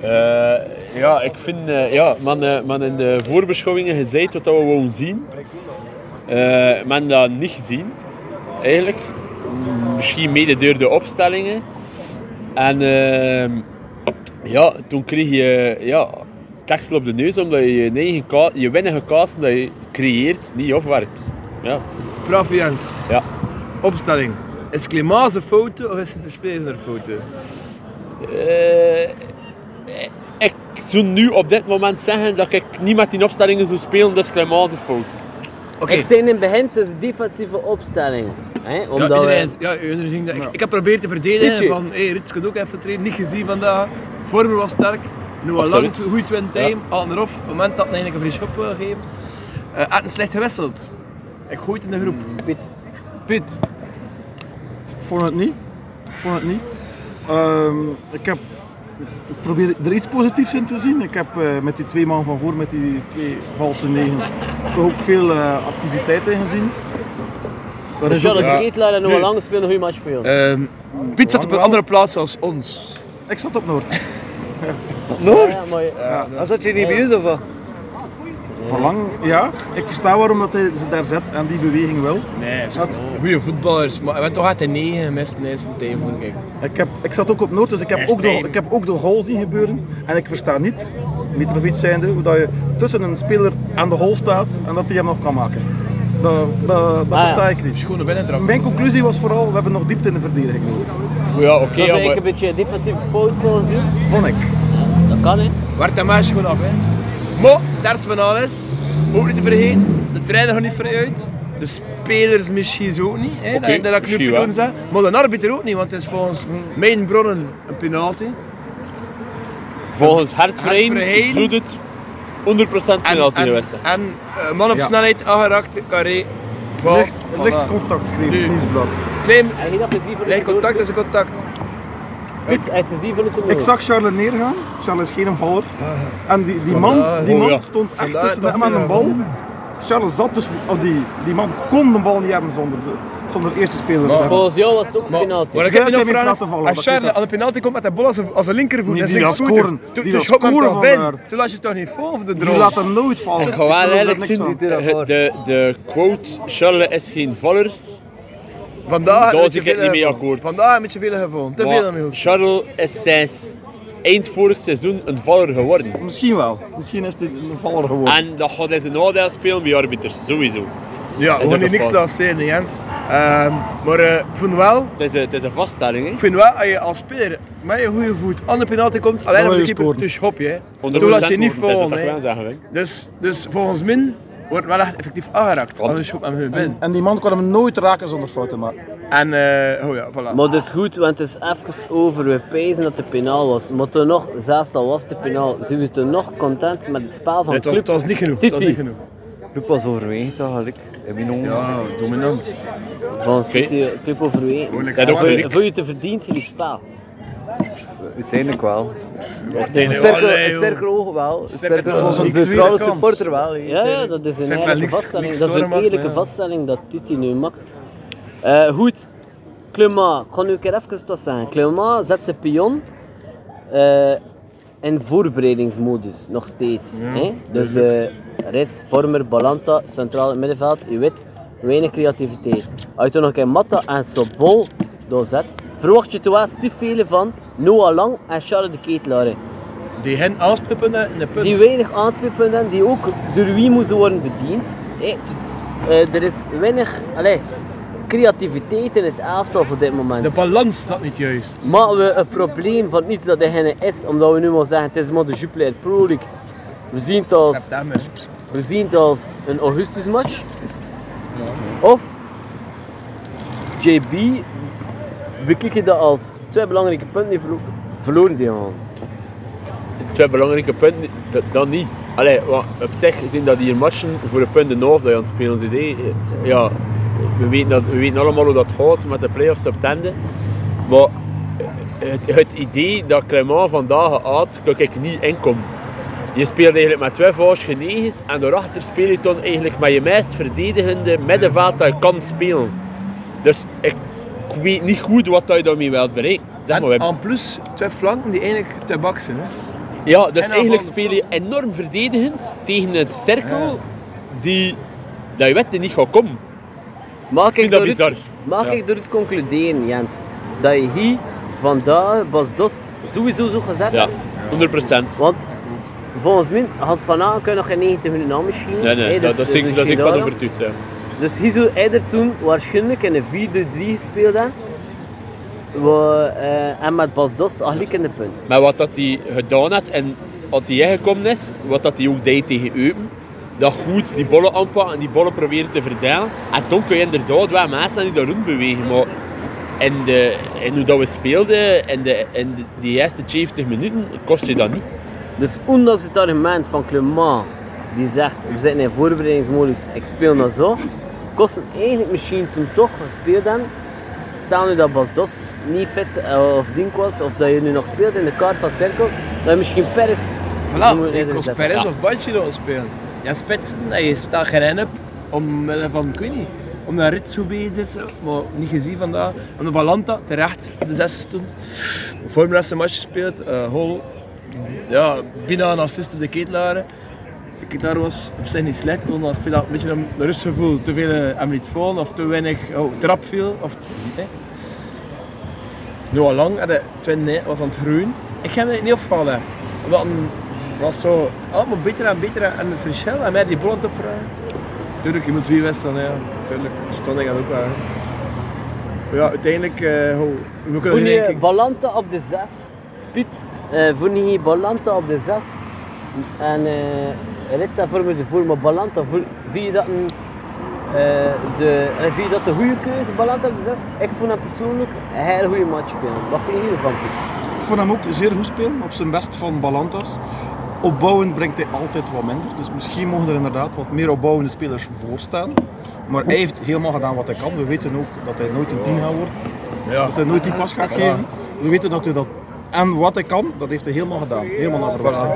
Speaker 6: Eh, ja, ik vind, eh, ja, men, eh, men in de voorbeschouwingen gezegd wat dat we wouden zien. Eh, men dat niet gezien, eigenlijk. Mm, Misschien mede door de opstellingen. En ehm, ja, toen kreeg je ja, tekstel op de neus omdat je je, eigen ka- je winnige kasten dat je creëert niet afwerkt. Ja.
Speaker 2: Vraag voor Jens.
Speaker 6: Ja.
Speaker 2: Opstelling. Is Klimaat zijn fouten of is het de speler fouten?
Speaker 6: Eh, ik zou nu op dit moment zeggen dat ik niet met die opstellingen zou spelen, dus Clemence fout.
Speaker 2: Oké.
Speaker 3: Ik zei in het begin, tussen defensieve opstelling. Hè,
Speaker 2: Ja,
Speaker 3: omdat
Speaker 2: iedereen,
Speaker 3: wij-
Speaker 2: ja, iedereen ging dat. Ik, ik heb geprobeerd te verdedigen
Speaker 3: Pietje.
Speaker 2: van hey, Rits kan ook even trainen, niet gezien vandaag. Vormer was sterk, Noah Lang,
Speaker 6: Absoluut.
Speaker 2: goed twin time, aan erop, op het moment dat hij eigenlijk een vrije schop wil geven. Eh had een slecht gewisseld. Ik gooi het in de groep.
Speaker 3: Piet.
Speaker 4: Piet. Ik vond het niet. Ik vond het niet. Ehm, ik heb ik probeer er iets positiefs in te zien. Ik heb eh, met die twee man van voor, met die twee valse negens, toch ook veel eh, activiteit in gezien. Dat
Speaker 3: Dus
Speaker 4: is ook-
Speaker 3: Charlotte
Speaker 2: Ja.
Speaker 3: Ketelaar en Noah
Speaker 2: Nu.
Speaker 3: Lang spelen een goede match voor jou.
Speaker 2: Ehm Piet zat op een
Speaker 4: Lang
Speaker 2: andere plaats als ons.
Speaker 4: Ik zat op Noord.
Speaker 3: Noord? Ja, maar,
Speaker 2: Ja,
Speaker 3: je niet bij of wat?
Speaker 9: Verlang, ja. Ik versta waarom dat hij ze daar zet en die beweging wel.
Speaker 2: Nee, ze goede voetballers. Maar we hebben toch altijd 9 gemist in de eerste tijd, vond ik.
Speaker 9: Ik, heb, ik zat ook op Noord, dus ik heb,
Speaker 2: Best
Speaker 9: ook de,
Speaker 2: time.
Speaker 9: ik heb ook de goal zien gebeuren. En ik versta niet, Mitrovic zijnde, hoe dat je tussen een speler aan de goal staat en dat die hem nog kan maken. Dat, dat, dat
Speaker 3: ja.
Speaker 9: versta ik niet.
Speaker 2: Schone binnentrap.
Speaker 9: Mijn conclusie was vooral, we hebben nog diepte in de verdediging nodig.
Speaker 2: Ja, oké,
Speaker 3: Dat is
Speaker 2: ja,
Speaker 3: eigenlijk
Speaker 2: maar...
Speaker 3: een beetje een defensieve fout volgens u.
Speaker 9: Vond ik.
Speaker 3: Dat kan, hè.
Speaker 2: Werd de match gewoon af, hè. Maar, dat is van alles. Ook niet te vergeten, de trainer gaat niet vooruit. De spelers misschien zo ook niet, hè,
Speaker 6: Oké,
Speaker 2: dat, dat ik nu
Speaker 6: misschien
Speaker 2: op
Speaker 6: wel.
Speaker 2: doen zeg. Maar de arbiter ook niet, want het is volgens mijn bronnen een penalty.
Speaker 6: Volgens Hert
Speaker 2: Verheyen.
Speaker 6: Verheyen doet het 100%
Speaker 2: En,
Speaker 6: penalty in de
Speaker 2: en,
Speaker 6: wedstrijd.
Speaker 2: en eh, man op
Speaker 9: Ja.
Speaker 2: snelheid aangeraakt, carré,
Speaker 9: Licht,
Speaker 2: valt.
Speaker 9: licht
Speaker 2: Voilà.
Speaker 9: contact schreef
Speaker 2: Nu.
Speaker 9: het nieuwsblad.
Speaker 2: Klein,
Speaker 3: Heb je dat plezier voor
Speaker 2: Leg contact is een contact.
Speaker 3: Het het is hier voor het
Speaker 9: Ik zag Charles neergaan. Charles is geen valler. En die, die man, die
Speaker 2: Oh,
Speaker 9: man
Speaker 2: ja.
Speaker 9: stond echt
Speaker 2: Vandaar
Speaker 9: tussen
Speaker 2: dat
Speaker 9: hem en
Speaker 2: hij-
Speaker 9: de bal. Charles zat dus, als die, die man kon de bal niet hebben zonder de, zonder de eerste speler.
Speaker 2: Maar-
Speaker 9: Ja.
Speaker 3: Volgens jou was het ook een
Speaker 2: Maar,
Speaker 3: penalty.
Speaker 2: maar ik
Speaker 9: Zij
Speaker 2: heb nog
Speaker 9: hebben
Speaker 2: vragen.
Speaker 9: laten vallen,
Speaker 2: Als
Speaker 9: dat
Speaker 2: Charles
Speaker 9: weet ik.
Speaker 2: aan de penalty komt met de bal als een, als een linkervoet,
Speaker 9: Nee,
Speaker 2: dat is
Speaker 9: die
Speaker 2: links
Speaker 9: gaat
Speaker 2: goed, hè.
Speaker 9: scoren.
Speaker 2: Toen-
Speaker 9: Die
Speaker 2: Toen
Speaker 9: gaat
Speaker 2: schop hem
Speaker 9: scoren
Speaker 2: toch binnen.
Speaker 9: vandaar.
Speaker 2: Toen las je toch niet vol of de
Speaker 9: Die
Speaker 2: droom?
Speaker 9: laat hem nooit vallen.
Speaker 6: Ik ga Oh, wel
Speaker 9: eigenlijk
Speaker 6: eerlijk zien, de, de, de quote Charles is geen valler,
Speaker 2: Vandaag
Speaker 6: Daar
Speaker 2: heb
Speaker 6: was
Speaker 2: je
Speaker 6: ik het
Speaker 2: veel
Speaker 6: niet mee
Speaker 2: gevonden.
Speaker 6: akkoord.
Speaker 2: Vandaag heb je te veel gevonden. Te veel
Speaker 6: maar
Speaker 2: aan mij goed.
Speaker 6: Charles is sinds eind vorig seizoen een valler geworden.
Speaker 9: Misschien wel. Misschien is dit een valler geworden.
Speaker 6: En dat gaat hij zijn nadeel spelen bij arbiters, sowieso.
Speaker 2: Ja, we
Speaker 6: ook
Speaker 2: gaan hier
Speaker 6: een
Speaker 2: niks
Speaker 6: fout.
Speaker 2: laten zeggen, Jens. Ehm, maar eh, ik vind wel,
Speaker 6: Het is een, het is een vaststelling, hè.
Speaker 2: ik vind wel, als je als speler met je goede voet aan de penalty komt, alleen
Speaker 9: wil
Speaker 2: maar de
Speaker 9: je
Speaker 2: keeper,
Speaker 9: scoren.
Speaker 2: dus schop je. hè.
Speaker 6: 100%
Speaker 2: Toen laat je niet
Speaker 6: worden, dat is
Speaker 2: vallen.
Speaker 6: dat ik wel
Speaker 2: hè.
Speaker 6: zeggen, hè.
Speaker 2: Dus, dus volgens min wordt wel echt effectief aangeraakt. Anders schop hem hun binnen.
Speaker 9: En die man kon hem nooit raken zonder fout te maken.
Speaker 2: En, eh, oh ja, voilà.
Speaker 3: Maar dat is goed, want het is even over. We pezen dat het penaal was. Maar toen nog, zelfs al was het penaal, zijn we toen nog content met het spel
Speaker 2: Nee,
Speaker 3: van de
Speaker 2: het, was,
Speaker 3: club.
Speaker 2: het was niet genoeg. Het was
Speaker 3: Titi.
Speaker 2: niet genoeg.
Speaker 5: Club was overwegend, toch, eigenlijk. Heb je nog...
Speaker 2: Ja, dominant.
Speaker 3: Van de club
Speaker 2: Gewoon
Speaker 3: overwegen.
Speaker 2: niks aan.
Speaker 3: Voor je- voor je te verdient in het spel.
Speaker 5: Uiteindelijk wel. Een
Speaker 2: Tegen
Speaker 5: cirkel, een cirkel oog wel. Een
Speaker 2: Cirkel
Speaker 5: cirkel
Speaker 2: oog.
Speaker 5: oog. Een
Speaker 2: Niks
Speaker 5: neutrale
Speaker 2: weer kans.
Speaker 5: supporter wel. hè.
Speaker 3: Ja, ja, dat is
Speaker 2: Zijn wel
Speaker 3: een eerlijke
Speaker 2: niks-
Speaker 3: vaststelling.
Speaker 2: niks
Speaker 3: Dat is een
Speaker 2: doormaken,
Speaker 3: eerlijke
Speaker 2: ja.
Speaker 3: vaststelling dat Titi nu maakt. Eh, goed, Clément, ik ga nu een keer even wat zeggen. Clément zet zijn pion eh, in voorbereidingsmodus, nog steeds. hè? Dus eh rechts, Vormer, Balanta, centraal in het middenveld, je weet, weinig creativiteit. Als je toen nog een keer Matta en Sobol doorzet, verwacht je toch wel stief vele van Noah Lang en Charles de Ketelaar. hè?
Speaker 2: Die hen aanspippen in de punt.
Speaker 3: die weinig aanspreekpunten hebben, die ook door wie moesten worden bediend. Hé, t- t- eh, er is weinig allee, creativiteit in het elftal voor dit
Speaker 2: De
Speaker 3: moment.
Speaker 2: balans staat niet juist.
Speaker 3: Maar we een probleem van iets dat degene is, omdat we nu maar zeggen het is maar de Jupiler Pro League. We zien het als,
Speaker 2: September.
Speaker 3: we zien het als een augustusmatch. Of JB, we kijken dat als twee belangrijke punten die verlo- verloren zijn gegaan.
Speaker 6: Twee belangrijke punten, dat, dat niet. Allee, want op zich zijn dat hier matchen voor een punt en half dat je aan het spelen zit. hè. Ja, we weten, dat, we weten allemaal hoe dat gaat met de play-offs op tende. Maar het, het idee dat Clement vandaag had, kan ik niet inkom. Je speelt eigenlijk met twee vals genegens en daarachter speel je dan eigenlijk met je meest verdedigende middenveld dat je kan spelen. Dus ik, ik weet niet goed wat dat je daarmee wilt bereiken. Zeg maar,
Speaker 2: En
Speaker 6: Wim.
Speaker 2: aan plus twee flanken die eigenlijk te bak zijn. Hè.
Speaker 6: Ja, dus
Speaker 2: En dan
Speaker 6: eigenlijk
Speaker 2: van-
Speaker 6: speel je enorm verdedigend tegen een cirkel die dat je weet die niet gaat komen.
Speaker 3: Mag ik,
Speaker 6: vind dat
Speaker 3: door het,
Speaker 6: bizar.
Speaker 3: mag
Speaker 6: Ja.
Speaker 3: ik door het concluderen, Jens, dat je hier vandaag Bas Dost sowieso zo gezet
Speaker 6: Ja,
Speaker 3: hebt?
Speaker 6: 100 procent.
Speaker 3: Want volgens mij, Hans van Aan kan nog geen 90 minuten aan misschien.
Speaker 6: Nee, nee,
Speaker 3: hè,
Speaker 6: dat, dat, is ik-
Speaker 3: dus
Speaker 6: dat is ik van
Speaker 3: daarom.
Speaker 6: overtuigd. hè.
Speaker 3: Dus hier zou hij er toen waarschijnlijk in een 4-3 gespeeld hebben. We, eh, en met Bas Dost eigenlijk in de punt.
Speaker 6: Maar wat dat hij gedaan had en wat hij ingekomen is, wat dat hij ook deed tegen Eupen, dat goed die bollen aanpakken en die bollen proberen te verdelen. En dan kun je inderdaad wel mensen die daar rond bewegen. Maar in, de, in hoe dat we speelden, in, de, in de, die eerste 70 minuten, kost je dat niet.
Speaker 3: Dus ondanks het argument van Clement, die zegt we zitten in voorbereidingsmodus, ik speel nou zo, kost hem eigenlijk misschien toen toch gespeeld hebben. Stel nu dat Bas Dost niet fit eh, of dink was, of dat je nu nog speelt in de kaart van Cirkel, dat je misschien Peres
Speaker 2: Voilà,
Speaker 3: moet
Speaker 2: ik
Speaker 3: erin
Speaker 2: kost
Speaker 3: zetten.
Speaker 2: Perez
Speaker 3: Ja.
Speaker 2: of Banchero aan spelen. Ja, spitsen, dat je staat geen in op. Omwille van, ik weet niet, omdat Rits zo bezig is, maar niet gezien vandaag. Omdat Balanta terecht op de zesde stond. Voor mijn laatste match gespeeld, eh Hol. Ja, bijna een assist op de ketelaren. De gitaar was op zich niet slecht, omdat ik vind dat een beetje een rustgevoel. Te veel eh, hem liet vallen of te weinig oh, trap viel. Of, hè. Noah Lang had twee was aan het groeien. Ik ga me niet opvallen. Omdat een- was zo allemaal beter en beter en het verschil en mij die bollen te vragen. Tuurlijk, je moet wie wisselen, ja. Tuurlijk, verstond ik dat ook wel. hè. Maar ja, uiteindelijk, eh, oh, we kunnen
Speaker 3: Vond
Speaker 2: geen
Speaker 3: je
Speaker 2: keer-
Speaker 3: Balanta op de 6? Piet, eh vond je Balanta op de 6? En eh Ritsa vormde ervoor, maar Balanta, vond vind je dat een... eh de, eh, vind je dat de goede keuze, Balanta op de 6? Ik vond hem persoonlijk een hele goede match spelen. Wat vind je hiervan, Piet?
Speaker 4: Ik vond hem ook zeer goed spelen, op zijn best van Balantas. Opbouwend brengt hij altijd wat minder, dus misschien mogen er inderdaad wat meer opbouwende spelers voor staan. Maar hij heeft helemaal gedaan wat hij kan. We weten ook dat hij nooit een 10 gaat worden, dat hij nooit die pas gaat geven. We weten dat hij dat... En wat hij kan, dat heeft hij helemaal gedaan. Helemaal naar verwachting.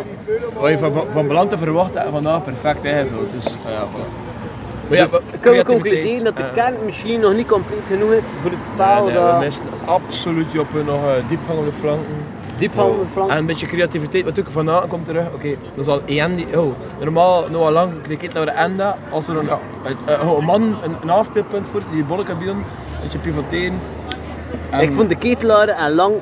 Speaker 2: Wat je van, van Beland te verwachten en vandaag perfect ingevuld. Dus, ah ja, voilà. Maar dus ja, we-
Speaker 3: Kunnen we
Speaker 2: creativiteit,
Speaker 3: concluderen dat de
Speaker 2: eh,
Speaker 3: kern misschien nog niet compleet genoeg is voor het
Speaker 2: nee,
Speaker 3: spel?
Speaker 2: nee,
Speaker 3: dat
Speaker 2: we missen absoluut Joppe nog eh, diepgangende flanken.
Speaker 3: diep handen van
Speaker 2: En een beetje creativiteit, want ook vanavond komt terug. Oké, dan zal EN die. Oh, normaal Noah Lang, cricket naar de Enda. Als er een, ja, een, een- een man een, een afspeelpunt voor die bollen kan bieden, een beetje pivoterend.
Speaker 3: Ik vond de ketelaren en lang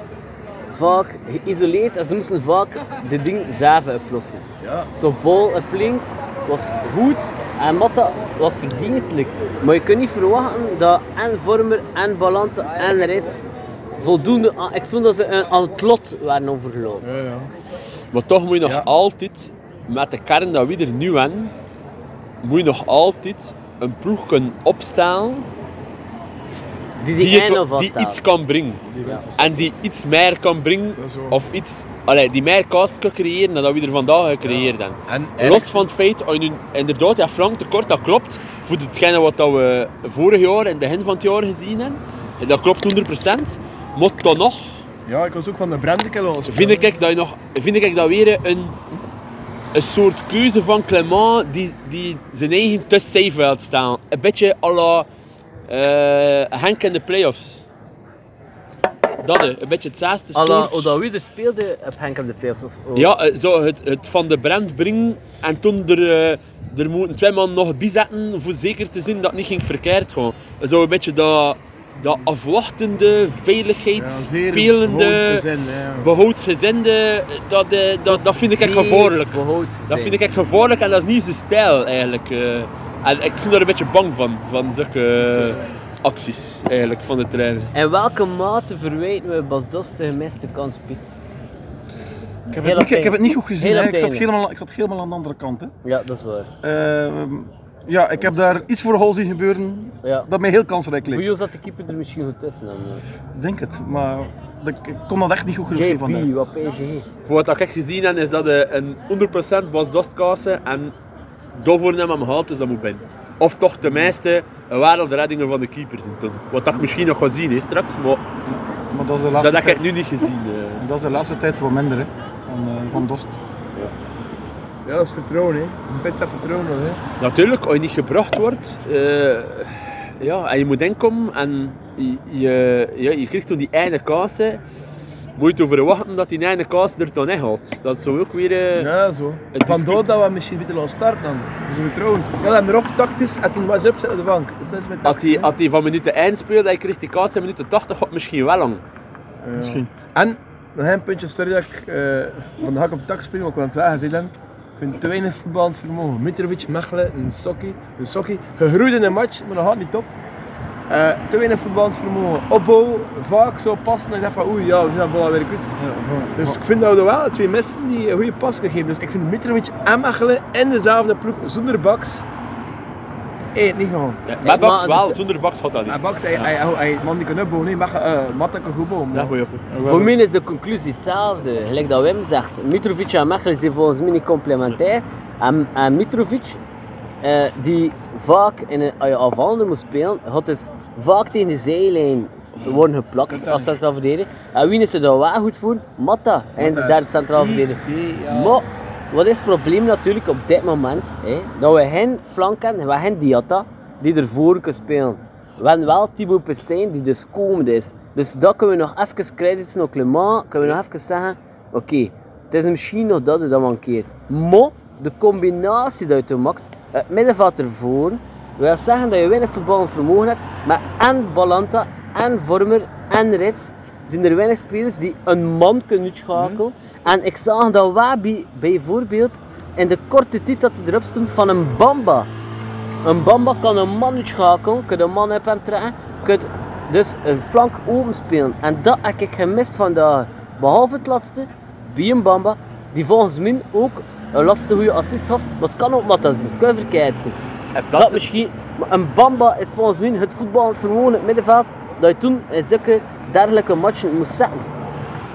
Speaker 3: vaak geïsoleerd en ze moesten vaak de ding zelf oplossen.
Speaker 2: Ja.
Speaker 3: Zo'n bal op links was goed en Matta was verdienstelijk. Maar je kunt niet verwachten dat en Vormer en Balante en Rits voldoende aan... Ik vond dat ze een, aan het plot waren overgelopen.
Speaker 2: Ja, ja.
Speaker 6: Maar toch moet je nog
Speaker 2: Ja.
Speaker 6: altijd, met de kern dat we er nu hebben, moet je nog altijd een ploeg kunnen opstellen
Speaker 3: Die
Speaker 6: die,
Speaker 3: die
Speaker 6: het-
Speaker 3: einde
Speaker 6: die iets
Speaker 3: vasthouden.
Speaker 6: kan brengen.
Speaker 3: Ja.
Speaker 6: En die iets meer kan brengen,
Speaker 2: Dat is zo.
Speaker 6: of iets, allee, die meer cast kan creëren dan dat we er vandaag gecreëerd hebben.
Speaker 2: En
Speaker 6: Los van het feit dat je nu inderdaad ja, Frank tekort, dat klopt. Voor hetgene wat dat we vorig jaar en het begin van het jaar gezien hebben, en dat klopt 100%. Maar toch nog
Speaker 2: Ja, ik was ook van de Brendekel al
Speaker 6: vind ik dat, je nog, vind ik dat weer een, een soort keuze van Clement die, die zijn eigen te safe wil staan. Een beetje à la eh, Henk in de playoffs. Dat hè, een beetje hetzelfde
Speaker 3: Alla,
Speaker 6: soort.
Speaker 3: hoe dat wie er speelde op Henk op de playoffs. Of, oh.
Speaker 6: Ja, eh, zo het, het van de brand brengen en toen er, eh, er moeten twee man nog bij zetten voor zeker te zien dat het niet ging verkeerd gewoon. Zo een beetje dat, dat afwachtende, veiligheidsspelende, behoudsgezinde, dat, eh, dat, dat vind ik echt
Speaker 3: Zeer
Speaker 6: gevaarlijk.
Speaker 3: behoudse
Speaker 6: Dat
Speaker 3: zijn.
Speaker 6: vind ik echt gevaarlijk en dat is niet zijn stijl eigenlijk. eh. en ik ben daar een beetje bang van, van zulke eh, acties eigenlijk van de trainer.
Speaker 3: In welke mate verwijten we Bas Dost de gemiste kans, Piet?
Speaker 4: Ik heb,
Speaker 3: Heel
Speaker 4: het niet, ik
Speaker 3: op
Speaker 4: heb het niet goed gezien.
Speaker 3: Heel
Speaker 4: hè.
Speaker 3: op
Speaker 4: Ik zat,
Speaker 3: tegen.
Speaker 4: helemaal, ik zat helemaal aan de andere kant. Hè.
Speaker 3: Ja, dat is waar.
Speaker 4: Ehm, ja, ik heb daar iets voor hol zien gebeuren
Speaker 3: Ja.
Speaker 4: dat mij heel kansrijk leek.
Speaker 3: Voor jou zat de keeper er misschien goed tussen. Dan, eh.
Speaker 4: Ik denk het, maar dat- ik kon dat echt niet goed genoeg zien vandaag.
Speaker 3: JP, wat PSG.
Speaker 6: Voor wat ik echt gezien heb, is dat eh, een 100% was dostkassen en daarvoor hem hem gehaald is dat moet binnen. Of toch de meeste wereldreddingen van de keepers in toen. Wat dat ik misschien nog ga zien hè, straks, maar
Speaker 4: Maar dat is de
Speaker 6: dat
Speaker 4: laatste,
Speaker 6: heb
Speaker 4: tijd,
Speaker 6: ik nu niet gezien. eh.
Speaker 4: dat is de laatste tijd wat minder hè, van, eh, van Dost.
Speaker 2: Ja, dat is vertrouwen, hè. Spits dat vertrouwen, nog, hè.
Speaker 6: Natuurlijk, als je niet gebracht wordt, eh, ja, en je moet inkomen en je, je, ja, je krijgt toen die ene kaas, hè, moet je ervoor verwachten dat die ene kaas er dan in gaat. Dat is zo ook weer... eh,
Speaker 2: Ja, zo.
Speaker 6: Het is-
Speaker 2: Vandoor dat we misschien beter laten starten dan. Dus we vertrouwen. Ja, dan erop tactisch en toen was je op zit op de bank. Dus dat is met
Speaker 6: Als
Speaker 2: tactisch,
Speaker 6: die,
Speaker 2: hè.
Speaker 6: als die van minuten 1 speelt, dan krijgt die kaas in minuten 80 gaat het misschien wel lang.
Speaker 2: Ja. En, nog een puntje, sorry dat ik eh, van de hak op de tak spring, ook wel aan het wagen zit dan. Ik vind te weinig voetbal aan het vermogen. Mitrovic, Mechelen, een sokkie, een sokkie. Gegroeid in een match, maar nog gaat niet top. Eh, te weinig voetbal aan het vermogen. Opbouw, vaak zo passen. En ik dacht van oei, ja, we zijn dat bal weer goed. Dus ik vind dat we er wel twee mensen die een goede pas kunnen geven. Dus ik vind Mitrovic en Mechelen in dezelfde ploeg, zonder Baks. Eet niet gewoon.
Speaker 6: Ja, met
Speaker 3: maar
Speaker 6: Baks
Speaker 3: het
Speaker 6: wel,
Speaker 3: is-
Speaker 6: zonder Baks gaat dat niet.
Speaker 2: Maar Baks, hij, hij, hij, hij- man die kan opbouwen, nee, Mechelen, eh, Matta kan goed bouwen.
Speaker 6: Zeg
Speaker 2: maar-
Speaker 6: maar, Joppe.
Speaker 3: Voor mij is de conclusie hetzelfde. Gelijk dat Wim zegt, Mitrovic en Mechelen zijn volgens mij niet complementair. En, en Mitrovic, eh, die vaak in een als je aanvallende moet spelen, had dus vaak tegen de zijlijn worden geplakt als centraal verdediger. En wie is er dan wel goed voor? Matta, en de derde centraal verdediger. Maar wat is het probleem natuurlijk op dit moment? Hè? Dat we geen flank hebben, we hebben geen Diatta die ervoor kan spelen. We hebben wel Thibaut Pessin die dus komende is. Dus dat kunnen we nog even credits naar Clement, kunnen we nog even zeggen, oké, het is misschien nog dat er dat mankeert. Maar de combinatie die je toen maakt, het middenveld ervoor, wil zeggen dat je weinig voetballend vermogen hebt, maar en Balanta, en Vormer, en Rits zijn er weinig spelers die een man kunnen uitschakelen. En ik zag dat Wabi bijvoorbeeld in de korte tijd dat hij erop stond van een Bamba. Een Bamba kan een man uitschakelen, kan een man op hem trekken, kan dus een flank open spelen. En dat heb ik gemist vandaag. Behalve het laatste, Bien Bamba, die volgens mij ook een lastige goede assist gaf. Maar het kan ook Matta zijn, kan verkeerd zijn. Dat, misschien, maar een Bamba is volgens mij het voetballend vermogen in het middenveld dat je toen in zulke dergelijke matchen moest zetten.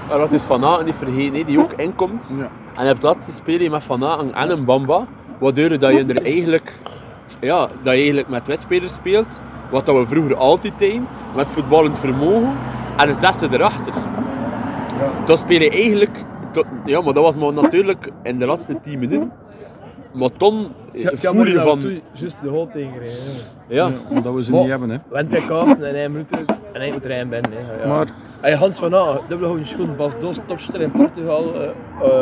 Speaker 6: Maar dat is dus Van Aken niet vergeten, hè, die ook inkomt. En op het laatste speel je met Van Aken en een Bamba. Waardoor dat je er eigenlijk, ja, dat je eigenlijk met twee spelers speelt. Wat dat we vroeger altijd deden. Met voetballend vermogen. En een zesde erachter. Dat speel je eigenlijk... tot- ja, maar dat was maar natuurlijk in de laatste tien minuten. Maar toen voel je van...
Speaker 2: Juist de goal tegenrijden. jongen.
Speaker 6: Ja,
Speaker 9: dat we ze
Speaker 2: Maar-
Speaker 9: niet hebben, hè.
Speaker 2: Went bij Kaasen en hij moet er en hij moet er een binnen. hè. Ja.
Speaker 9: Maar-
Speaker 2: Hey, Hans van A, dubbele gouden schoen, Bas Dost, topster in Portugal, eh,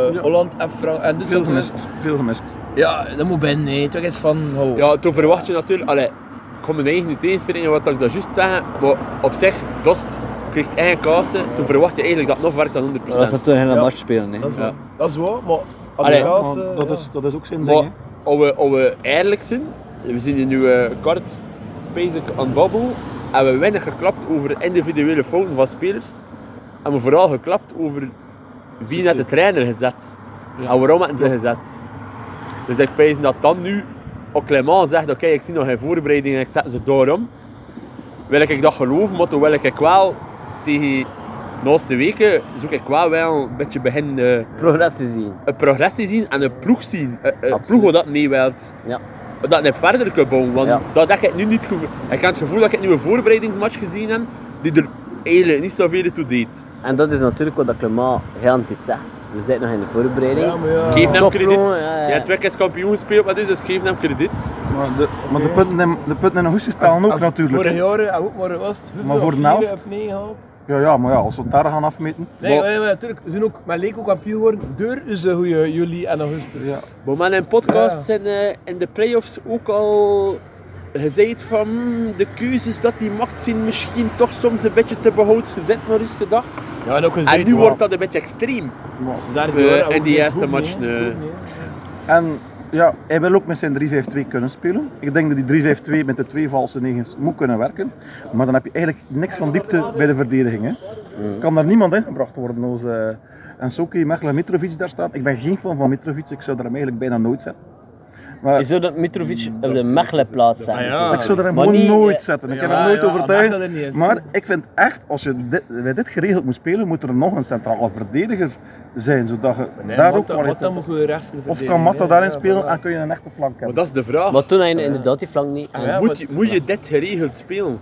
Speaker 2: eh,
Speaker 9: Ja.
Speaker 2: Holland en Frank. En dit
Speaker 9: Veel
Speaker 2: soort mensen.
Speaker 9: gemist. Veel gemist.
Speaker 2: Ja, dat moet binnen, nee. Toch iets van. Oh.
Speaker 6: Ja, toen verwacht je natuurlijk. Allee, ik kon mijn eigen niet tegenspreken wat ik dat juist zeggen. Maar op zich, Dost kreeg eigen kasten. Toen verwacht je eigenlijk dat het nog werkt dan 100%.
Speaker 10: Dat gaat een hele
Speaker 2: Ja.
Speaker 10: match spelen. hè.
Speaker 2: Dat is
Speaker 6: Ja.
Speaker 2: waar. Dat is waar, maar.
Speaker 6: Allee,
Speaker 9: Ja,
Speaker 2: Adelaas,
Speaker 9: maar
Speaker 2: eh,
Speaker 9: dat,
Speaker 2: ja.
Speaker 9: is, dat is ook zijn
Speaker 6: Maar
Speaker 9: ding,
Speaker 6: als we, als we eerlijk zijn, we zien in uw kart bezig aan het babbelen. En we weinig geklapt over individuele fouten van spelers. En we vooral geklapt over wie net de trainer gezet. En waarom hadden ze gezet. Dus ik pijs dat dan nu ook Clement zegt, oké, ik zie nog geen voorbereiding en ik zet ze daarom. Wil ik dat geloven, maar toen wil ik wel tegen de laatste weken zoek ik wel, wel een beetje begin eh,
Speaker 3: Progressie zien.
Speaker 6: een progressie zien en een ploeg zien. Eh, Een, een
Speaker 3: Absoluut.
Speaker 6: ploeg waar dat mee wilt.
Speaker 3: Ja.
Speaker 6: Waar Dat net verder kan bouwen. Want
Speaker 3: Ja.
Speaker 6: dat heb ik nu niet gevoel. Ik heb het gevoel dat ik nu een voorbereidingsmatch gezien heb die er eigenlijk niet zoveel toe deed.
Speaker 3: En dat is natuurlijk wat dat Clement heel de tijd zegt. We zijn nog in de voorbereiding.
Speaker 2: Ja, maar ja.
Speaker 6: Geef hem
Speaker 3: Top,
Speaker 6: krediet.
Speaker 3: jongen, ja, ja.
Speaker 6: Je hebt twee keer kampioen gespeeld, maar dus, dus geef hem krediet.
Speaker 9: hè. Maar de, maar de punten in, de punten in Augustus talen ook,
Speaker 2: Af-
Speaker 9: natuurlijk.
Speaker 2: Vorig
Speaker 9: hè.
Speaker 2: Ah, jaar, eh, ook maar was het. hoeveel
Speaker 9: Maar voor
Speaker 2: of
Speaker 9: de
Speaker 2: vier
Speaker 9: helft?
Speaker 2: heb negen gehaald.
Speaker 9: Ja, ja, maar ja, als we het daar gaan afmeten...
Speaker 2: Nee,
Speaker 6: Maar-
Speaker 2: maar, maar natuurlijk, ze zijn ook met Leko kampioen geworden door onze goede eh, juli en augustus.
Speaker 9: Ja.
Speaker 6: Maar met een podcast zijn eh, in de playoffs ook al gezegd van "Hmm, de keuzes dat die macht zijn misschien toch soms een beetje te behouds gezet naar is gedacht.
Speaker 2: Ja, en ook een
Speaker 6: En nu wordt dat een beetje extreem.
Speaker 9: maar-
Speaker 6: eh, in die eerste match, eh.
Speaker 9: En ja, hij wil ook met zijn 3-5-2 kunnen spelen. Ik denk dat die 3-5-2 met de twee valse negens moet kunnen werken. Maar dan heb je eigenlijk niks van diepte bij de verdediging. Hè.
Speaker 6: Mm.
Speaker 9: Kan daar niemand ingebracht worden. Als, eh en Soki, Mechelen, Mitrovic daar staat. Ik ben geen fan van Mitrovic. Ik zou daar hem eigenlijk bijna nooit zetten. Maar
Speaker 3: Je zou dat Mitrovic op de Mechelen plaats zijn.
Speaker 2: Ah.
Speaker 9: ik zou daar hem
Speaker 3: Maar
Speaker 9: gewoon
Speaker 3: niet,
Speaker 9: nooit
Speaker 3: eh,
Speaker 9: zetten. Ik heb hem nooit overtuigd. Maar ik vind echt, als je dit, bij dit geregeld moet spelen, moet er nog een centrale verdediger zijn. Zodat je daar ook kwaliteit-
Speaker 2: Matta moet gewoon rechts in de
Speaker 9: Of kan
Speaker 2: verdediging,
Speaker 9: Matta
Speaker 2: hè.
Speaker 9: daarin
Speaker 2: Ja,
Speaker 9: spelen
Speaker 2: voilà.
Speaker 9: en kun je een echte flank
Speaker 6: Maar
Speaker 9: hebben?
Speaker 6: dat is de vraag.
Speaker 3: Maar toen had je inderdaad die flank niet.
Speaker 2: ja,
Speaker 6: moet,
Speaker 2: maar-
Speaker 6: je, moet je dit geregeld spelen?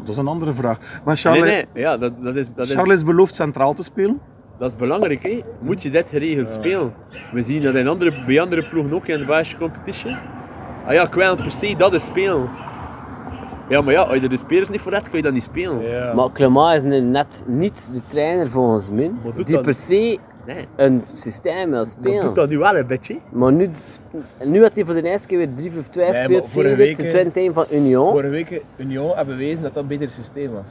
Speaker 9: Dat is een andere vraag. Maar
Speaker 6: Nee,
Speaker 9: Charles,
Speaker 6: nee, ja, dat, dat, is, dat, is,
Speaker 9: Charles belooft centraal te spelen.
Speaker 6: dat is belangrijk. Hè? Moet je dit geregeld spelen? We zien dat in andere, bij andere ploegen ook in de Belgische competition. Ah ja, ik wil per se dat is spelen. Ja, maar ja, als je er de spelers niet voor hebt, kun je dat niet spelen.
Speaker 2: Ja.
Speaker 3: Maar Clement is nu net niet de trainer volgens mij.
Speaker 6: Wat doet
Speaker 3: Die
Speaker 6: dat?
Speaker 3: per se
Speaker 6: Nee,
Speaker 3: een systeem wil
Speaker 6: dat doet
Speaker 3: spelen.
Speaker 6: dat nu wel een beetje.
Speaker 3: Maar nu, nu had hij voor de eerste keer weer 3 of 2
Speaker 2: Nee,
Speaker 3: speelt.
Speaker 2: maar
Speaker 3: Zie
Speaker 2: vorige
Speaker 3: je dit? De
Speaker 2: week,
Speaker 3: tweede team van Union.
Speaker 2: Vorige week, eh, Union hebben bewezen dat dat een beter systeem was.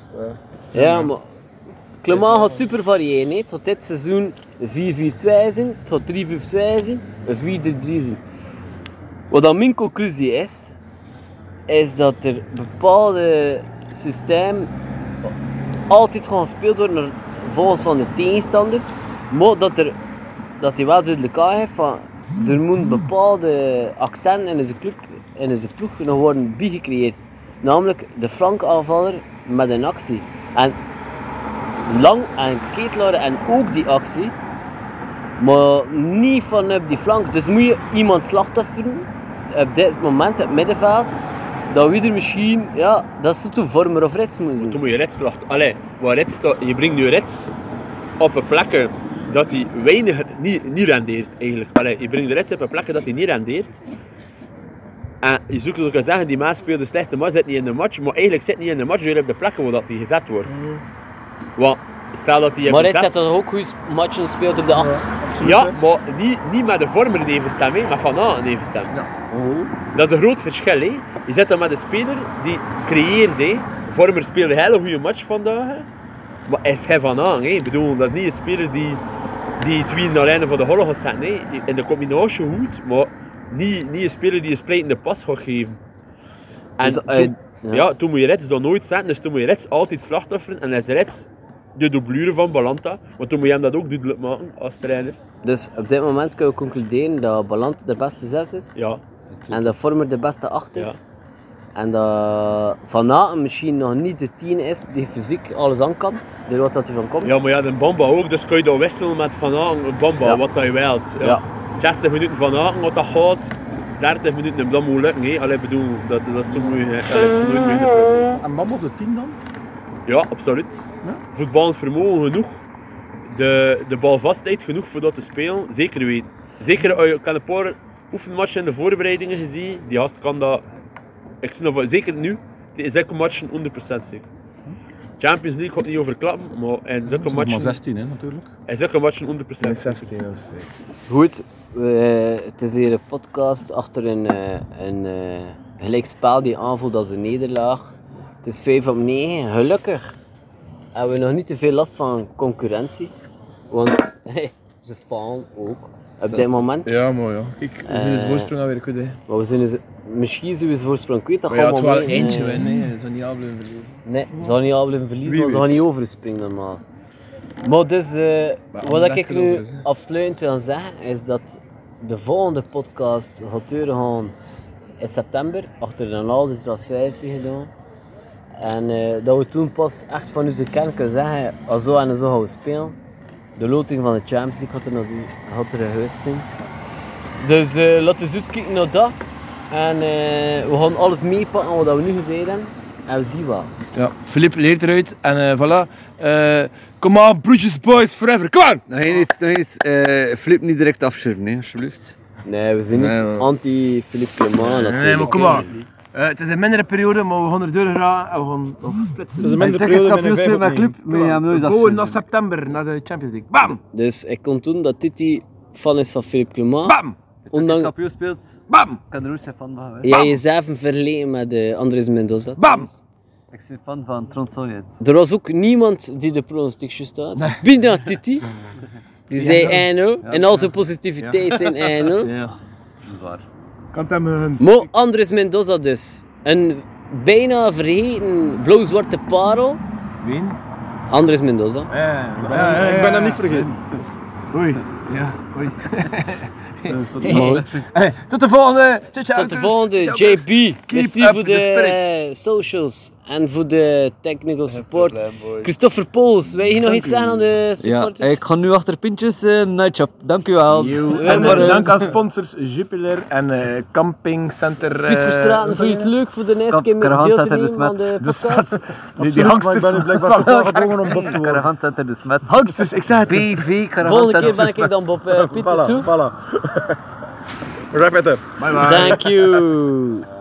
Speaker 2: Ja.
Speaker 3: Ja, maar Clement gaat super variëren. hè. Het gaat dit seizoen 4-4-2 zijn, het gaat 3-5-2 zijn, een 4-3-3 zijn. Wat dan mijn conclusie is, is dat er bepaalde systeem altijd gewoon gespeeld worden naar- volgens van de tegenstander, maar dat er dat hij wel duidelijk aan heeft van er moet een bepaalde accent in zijn, club, in zijn ploeg nog worden bijgecreëerd. Namelijk de flankaanvaller met een actie. En Lang en Ketelaar en ook die actie, maar niet van op die flank. Dus moet je iemand slachtofferen op dit moment, op het middenveld, dat we er misschien, ja, dat is toen vormer of rits moeten
Speaker 6: Toen
Speaker 3: doen.
Speaker 6: moet je reds wachten. Allee, waar reds sta- je brengt nu reds op een plek dat hij weinig niet, niet rendeert eigenlijk. Allee, je brengt reds op een plek dat hij niet rendeert. En je zoekt ook te zeggen, die maat speelde slechte maar zit niet in de match. Maar eigenlijk zit niet in de match, je hebt de plekken waar dat hij gezet wordt. Want stel dat hij
Speaker 3: Maar
Speaker 6: heeft
Speaker 3: Red
Speaker 6: zes-
Speaker 3: zet dat ook goed matchen speelt op de 8.
Speaker 6: Ja, maar niet, niet met de vormer een even stem, hè, maar vanaf een even stem. Dat is een groot verschil. Hè. Je zit dan met een speler die creëert. Hè. Vormer speelde een hele goede match vandaag. hè. Maar hij is hij vanaf. Hè. Ik bedoel, dat is niet een speler die, die twee naar lijnen van de horror gaat zetten. Hè. In de combinatie goed, maar niet, niet een speler die een splijtende pas gaat geven. En
Speaker 3: Dus, eh,
Speaker 6: toen,
Speaker 3: ja.
Speaker 6: ja. toen moet je Reds dat nooit zetten, dus toen moet je Reds altijd slachtofferen. En is Reds de doublure van Balanta, want toen moet je hem dat ook duidelijk maken als trainer.
Speaker 3: Dus op dit moment kunnen we concluderen dat Ballant de beste 6 is.
Speaker 6: Ja.
Speaker 3: En dat Vormer de beste 8 is.
Speaker 6: Ja.
Speaker 3: En dat Van Aken misschien nog niet de 10 is die fysiek alles aan kan. Door wat dat hij van komt.
Speaker 6: Ja, maar ja, de Bamba ook, dus kun je dat wisselen met Van Aken, Bamba,
Speaker 3: Ja.
Speaker 6: wat dat je wilt. Ja.
Speaker 3: Ja.
Speaker 6: 60 minuten Van Aken, wat dat gaat, 30 minuten, en dat moet lukken. Hé. Allee, ik bedoel, dat, dat is zo moeilijk. hè. Allee, dat is nooit meer een probleem.
Speaker 9: En Bamba op de 10 dan?
Speaker 6: Ja, absoluut. Voetballend vermogen genoeg, de, de balvastheid genoeg voor dat te spelen, zeker weten. Zeker, eh, ik heb een paar oefenmatchen in de voorbereidingen gezien, die gast kan dat, ik zie dat wel- zeker nu, in zulke matchen 100% zeker. Champions League gaat niet overklappen, maar in zulke
Speaker 9: Nog maar
Speaker 6: matchen...
Speaker 9: 16 hè, natuurlijk.
Speaker 6: Hij zegt een match 100%.
Speaker 2: Met 16 als feit.
Speaker 3: Goed, we, eh, het is hier een podcast achter een, eh, een eh, gelijkspel die aanvoelt als een nederlaag. Het is 5 op 9. Gelukkig hebben we nog niet te veel last van concurrentie. Want ze falen ook op dit moment.
Speaker 2: Ja, mooi ja. Kijk, we zijn dus
Speaker 3: Eh,
Speaker 2: voorsprong alweer goed hè.
Speaker 3: Maar we zijn dus, misschien zijn we eens voorsprong kwijt. Dat
Speaker 2: Maar ja,
Speaker 3: gaan
Speaker 2: het
Speaker 3: we
Speaker 2: wel
Speaker 3: mee,
Speaker 2: eentje
Speaker 3: eh,
Speaker 2: winnen, nee, dat is niet al blijven verliezen.
Speaker 3: Nee, ze gaan niet al blijven verliezen,
Speaker 9: Wie
Speaker 3: maar ze
Speaker 9: weet.
Speaker 3: gaan niet overspringen normaal. Maar dus, eh, wat
Speaker 2: Anderlecht
Speaker 3: ik
Speaker 2: kan
Speaker 3: nu
Speaker 2: over, hè.
Speaker 3: afsluitend wil zeggen, is dat de volgende podcast gaat doorgaan in september, achter een al die transfers die gedaan. En eh, dat we toen pas echt van onze kern kunnen zeggen, als zo en zo gaan we spelen. De loting van de Champions League gaat er, nog gaat er geweest zijn. Dus eh, laten we eens uitkijken naar dat. En eh, we gaan alles meepakken wat we nu gezegd hebben. En we zien wel.
Speaker 2: Ja, Filip leert eruit en eh, voilà. Eh come on, Bruges boys forever, come on!
Speaker 5: Nog één iets, nog één iets. Eh, Flip niet direct afschirmen, hè, alsjeblieft.
Speaker 3: Nee, we zijn niet
Speaker 2: Nee, maar-
Speaker 3: anti-Philippe Clement natuurlijk.
Speaker 2: Nee, maar kom maar. Eh, het is een mindere periode, maar we gaan er door gaan en we gaan nog flitsen.
Speaker 4: Dus een
Speaker 5: Mijn
Speaker 4: mindere periode met een
Speaker 5: tekkenskampioen
Speaker 4: vijf
Speaker 5: speelt
Speaker 4: op
Speaker 5: met
Speaker 4: negen.
Speaker 5: club, maar je hem nooit
Speaker 2: we bouwen naar
Speaker 5: afschirmen.
Speaker 2: september, naar de Champions League. Bam!
Speaker 3: Dus ik kon toen dat dit die fan is van Philippe Clement.
Speaker 2: Bam!
Speaker 3: Ondanks
Speaker 5: Tekkenskampioen speelt,
Speaker 2: Bam!
Speaker 5: kan er ook zijn fan van. hè.
Speaker 3: jij jezelf een verleden met eh, Andres Mendoza. Dus
Speaker 2: Bam!
Speaker 5: Ik ben fan van Tronsonjet.
Speaker 3: Er was ook niemand die de pronostiek juist had. Bina Titi. Die zei Eino. en al zijn positiviteit zijn Eino.
Speaker 5: Ja, dat is waar.
Speaker 2: Kan het hem hun...
Speaker 3: Mo Andres Mendoza dus. Een bijna vergeten blauw-zwarte parel.
Speaker 2: Wien?
Speaker 3: Andres Mendoza.
Speaker 9: Ik ben hem niet vergeten.
Speaker 2: Oei. Ja, oei.
Speaker 3: Maar goed.
Speaker 2: Hey, tot de volgende! Ciao, ciao,
Speaker 3: Tot de
Speaker 2: doei.
Speaker 3: volgende.
Speaker 2: Ciao,
Speaker 3: JB, merci
Speaker 2: up
Speaker 3: voor
Speaker 2: the
Speaker 3: de
Speaker 2: spirit.
Speaker 3: eh, socials en voor de technical support. Christopher Pools, wil je nog iets zeggen aan de
Speaker 5: Ja,
Speaker 3: supporters?
Speaker 5: ik ga nu achter pintjes eh Nightshop. Dank u wel.
Speaker 2: Yo.
Speaker 5: En
Speaker 2: En
Speaker 5: maar, eh,
Speaker 2: dank aan sponsors Jupiler en eh, Camping Center.
Speaker 3: Piet
Speaker 2: eh,
Speaker 3: Verstraten, vond je het leuk voor de
Speaker 5: Kap-
Speaker 3: next keer
Speaker 5: Karahant
Speaker 3: deel te
Speaker 2: dus
Speaker 5: zet er de
Speaker 3: nemen aan
Speaker 5: smet.
Speaker 2: de
Speaker 3: de podcast?
Speaker 2: stad. Die, die hangsters.
Speaker 9: Ik ben nu blijkbaar totaal gedwongen om dat te worden.
Speaker 5: Karavaan Center de Smet.
Speaker 2: Hangsters, ik zeg het.
Speaker 5: BV Karavaan
Speaker 3: Volgende
Speaker 2: dus
Speaker 3: keer
Speaker 5: Center dus
Speaker 3: ben
Speaker 5: de
Speaker 3: ik dan Bob eh, Piet
Speaker 9: Voilà,
Speaker 3: toe.
Speaker 9: voilà. Rap it up.
Speaker 2: Bye bye.
Speaker 3: Thank you.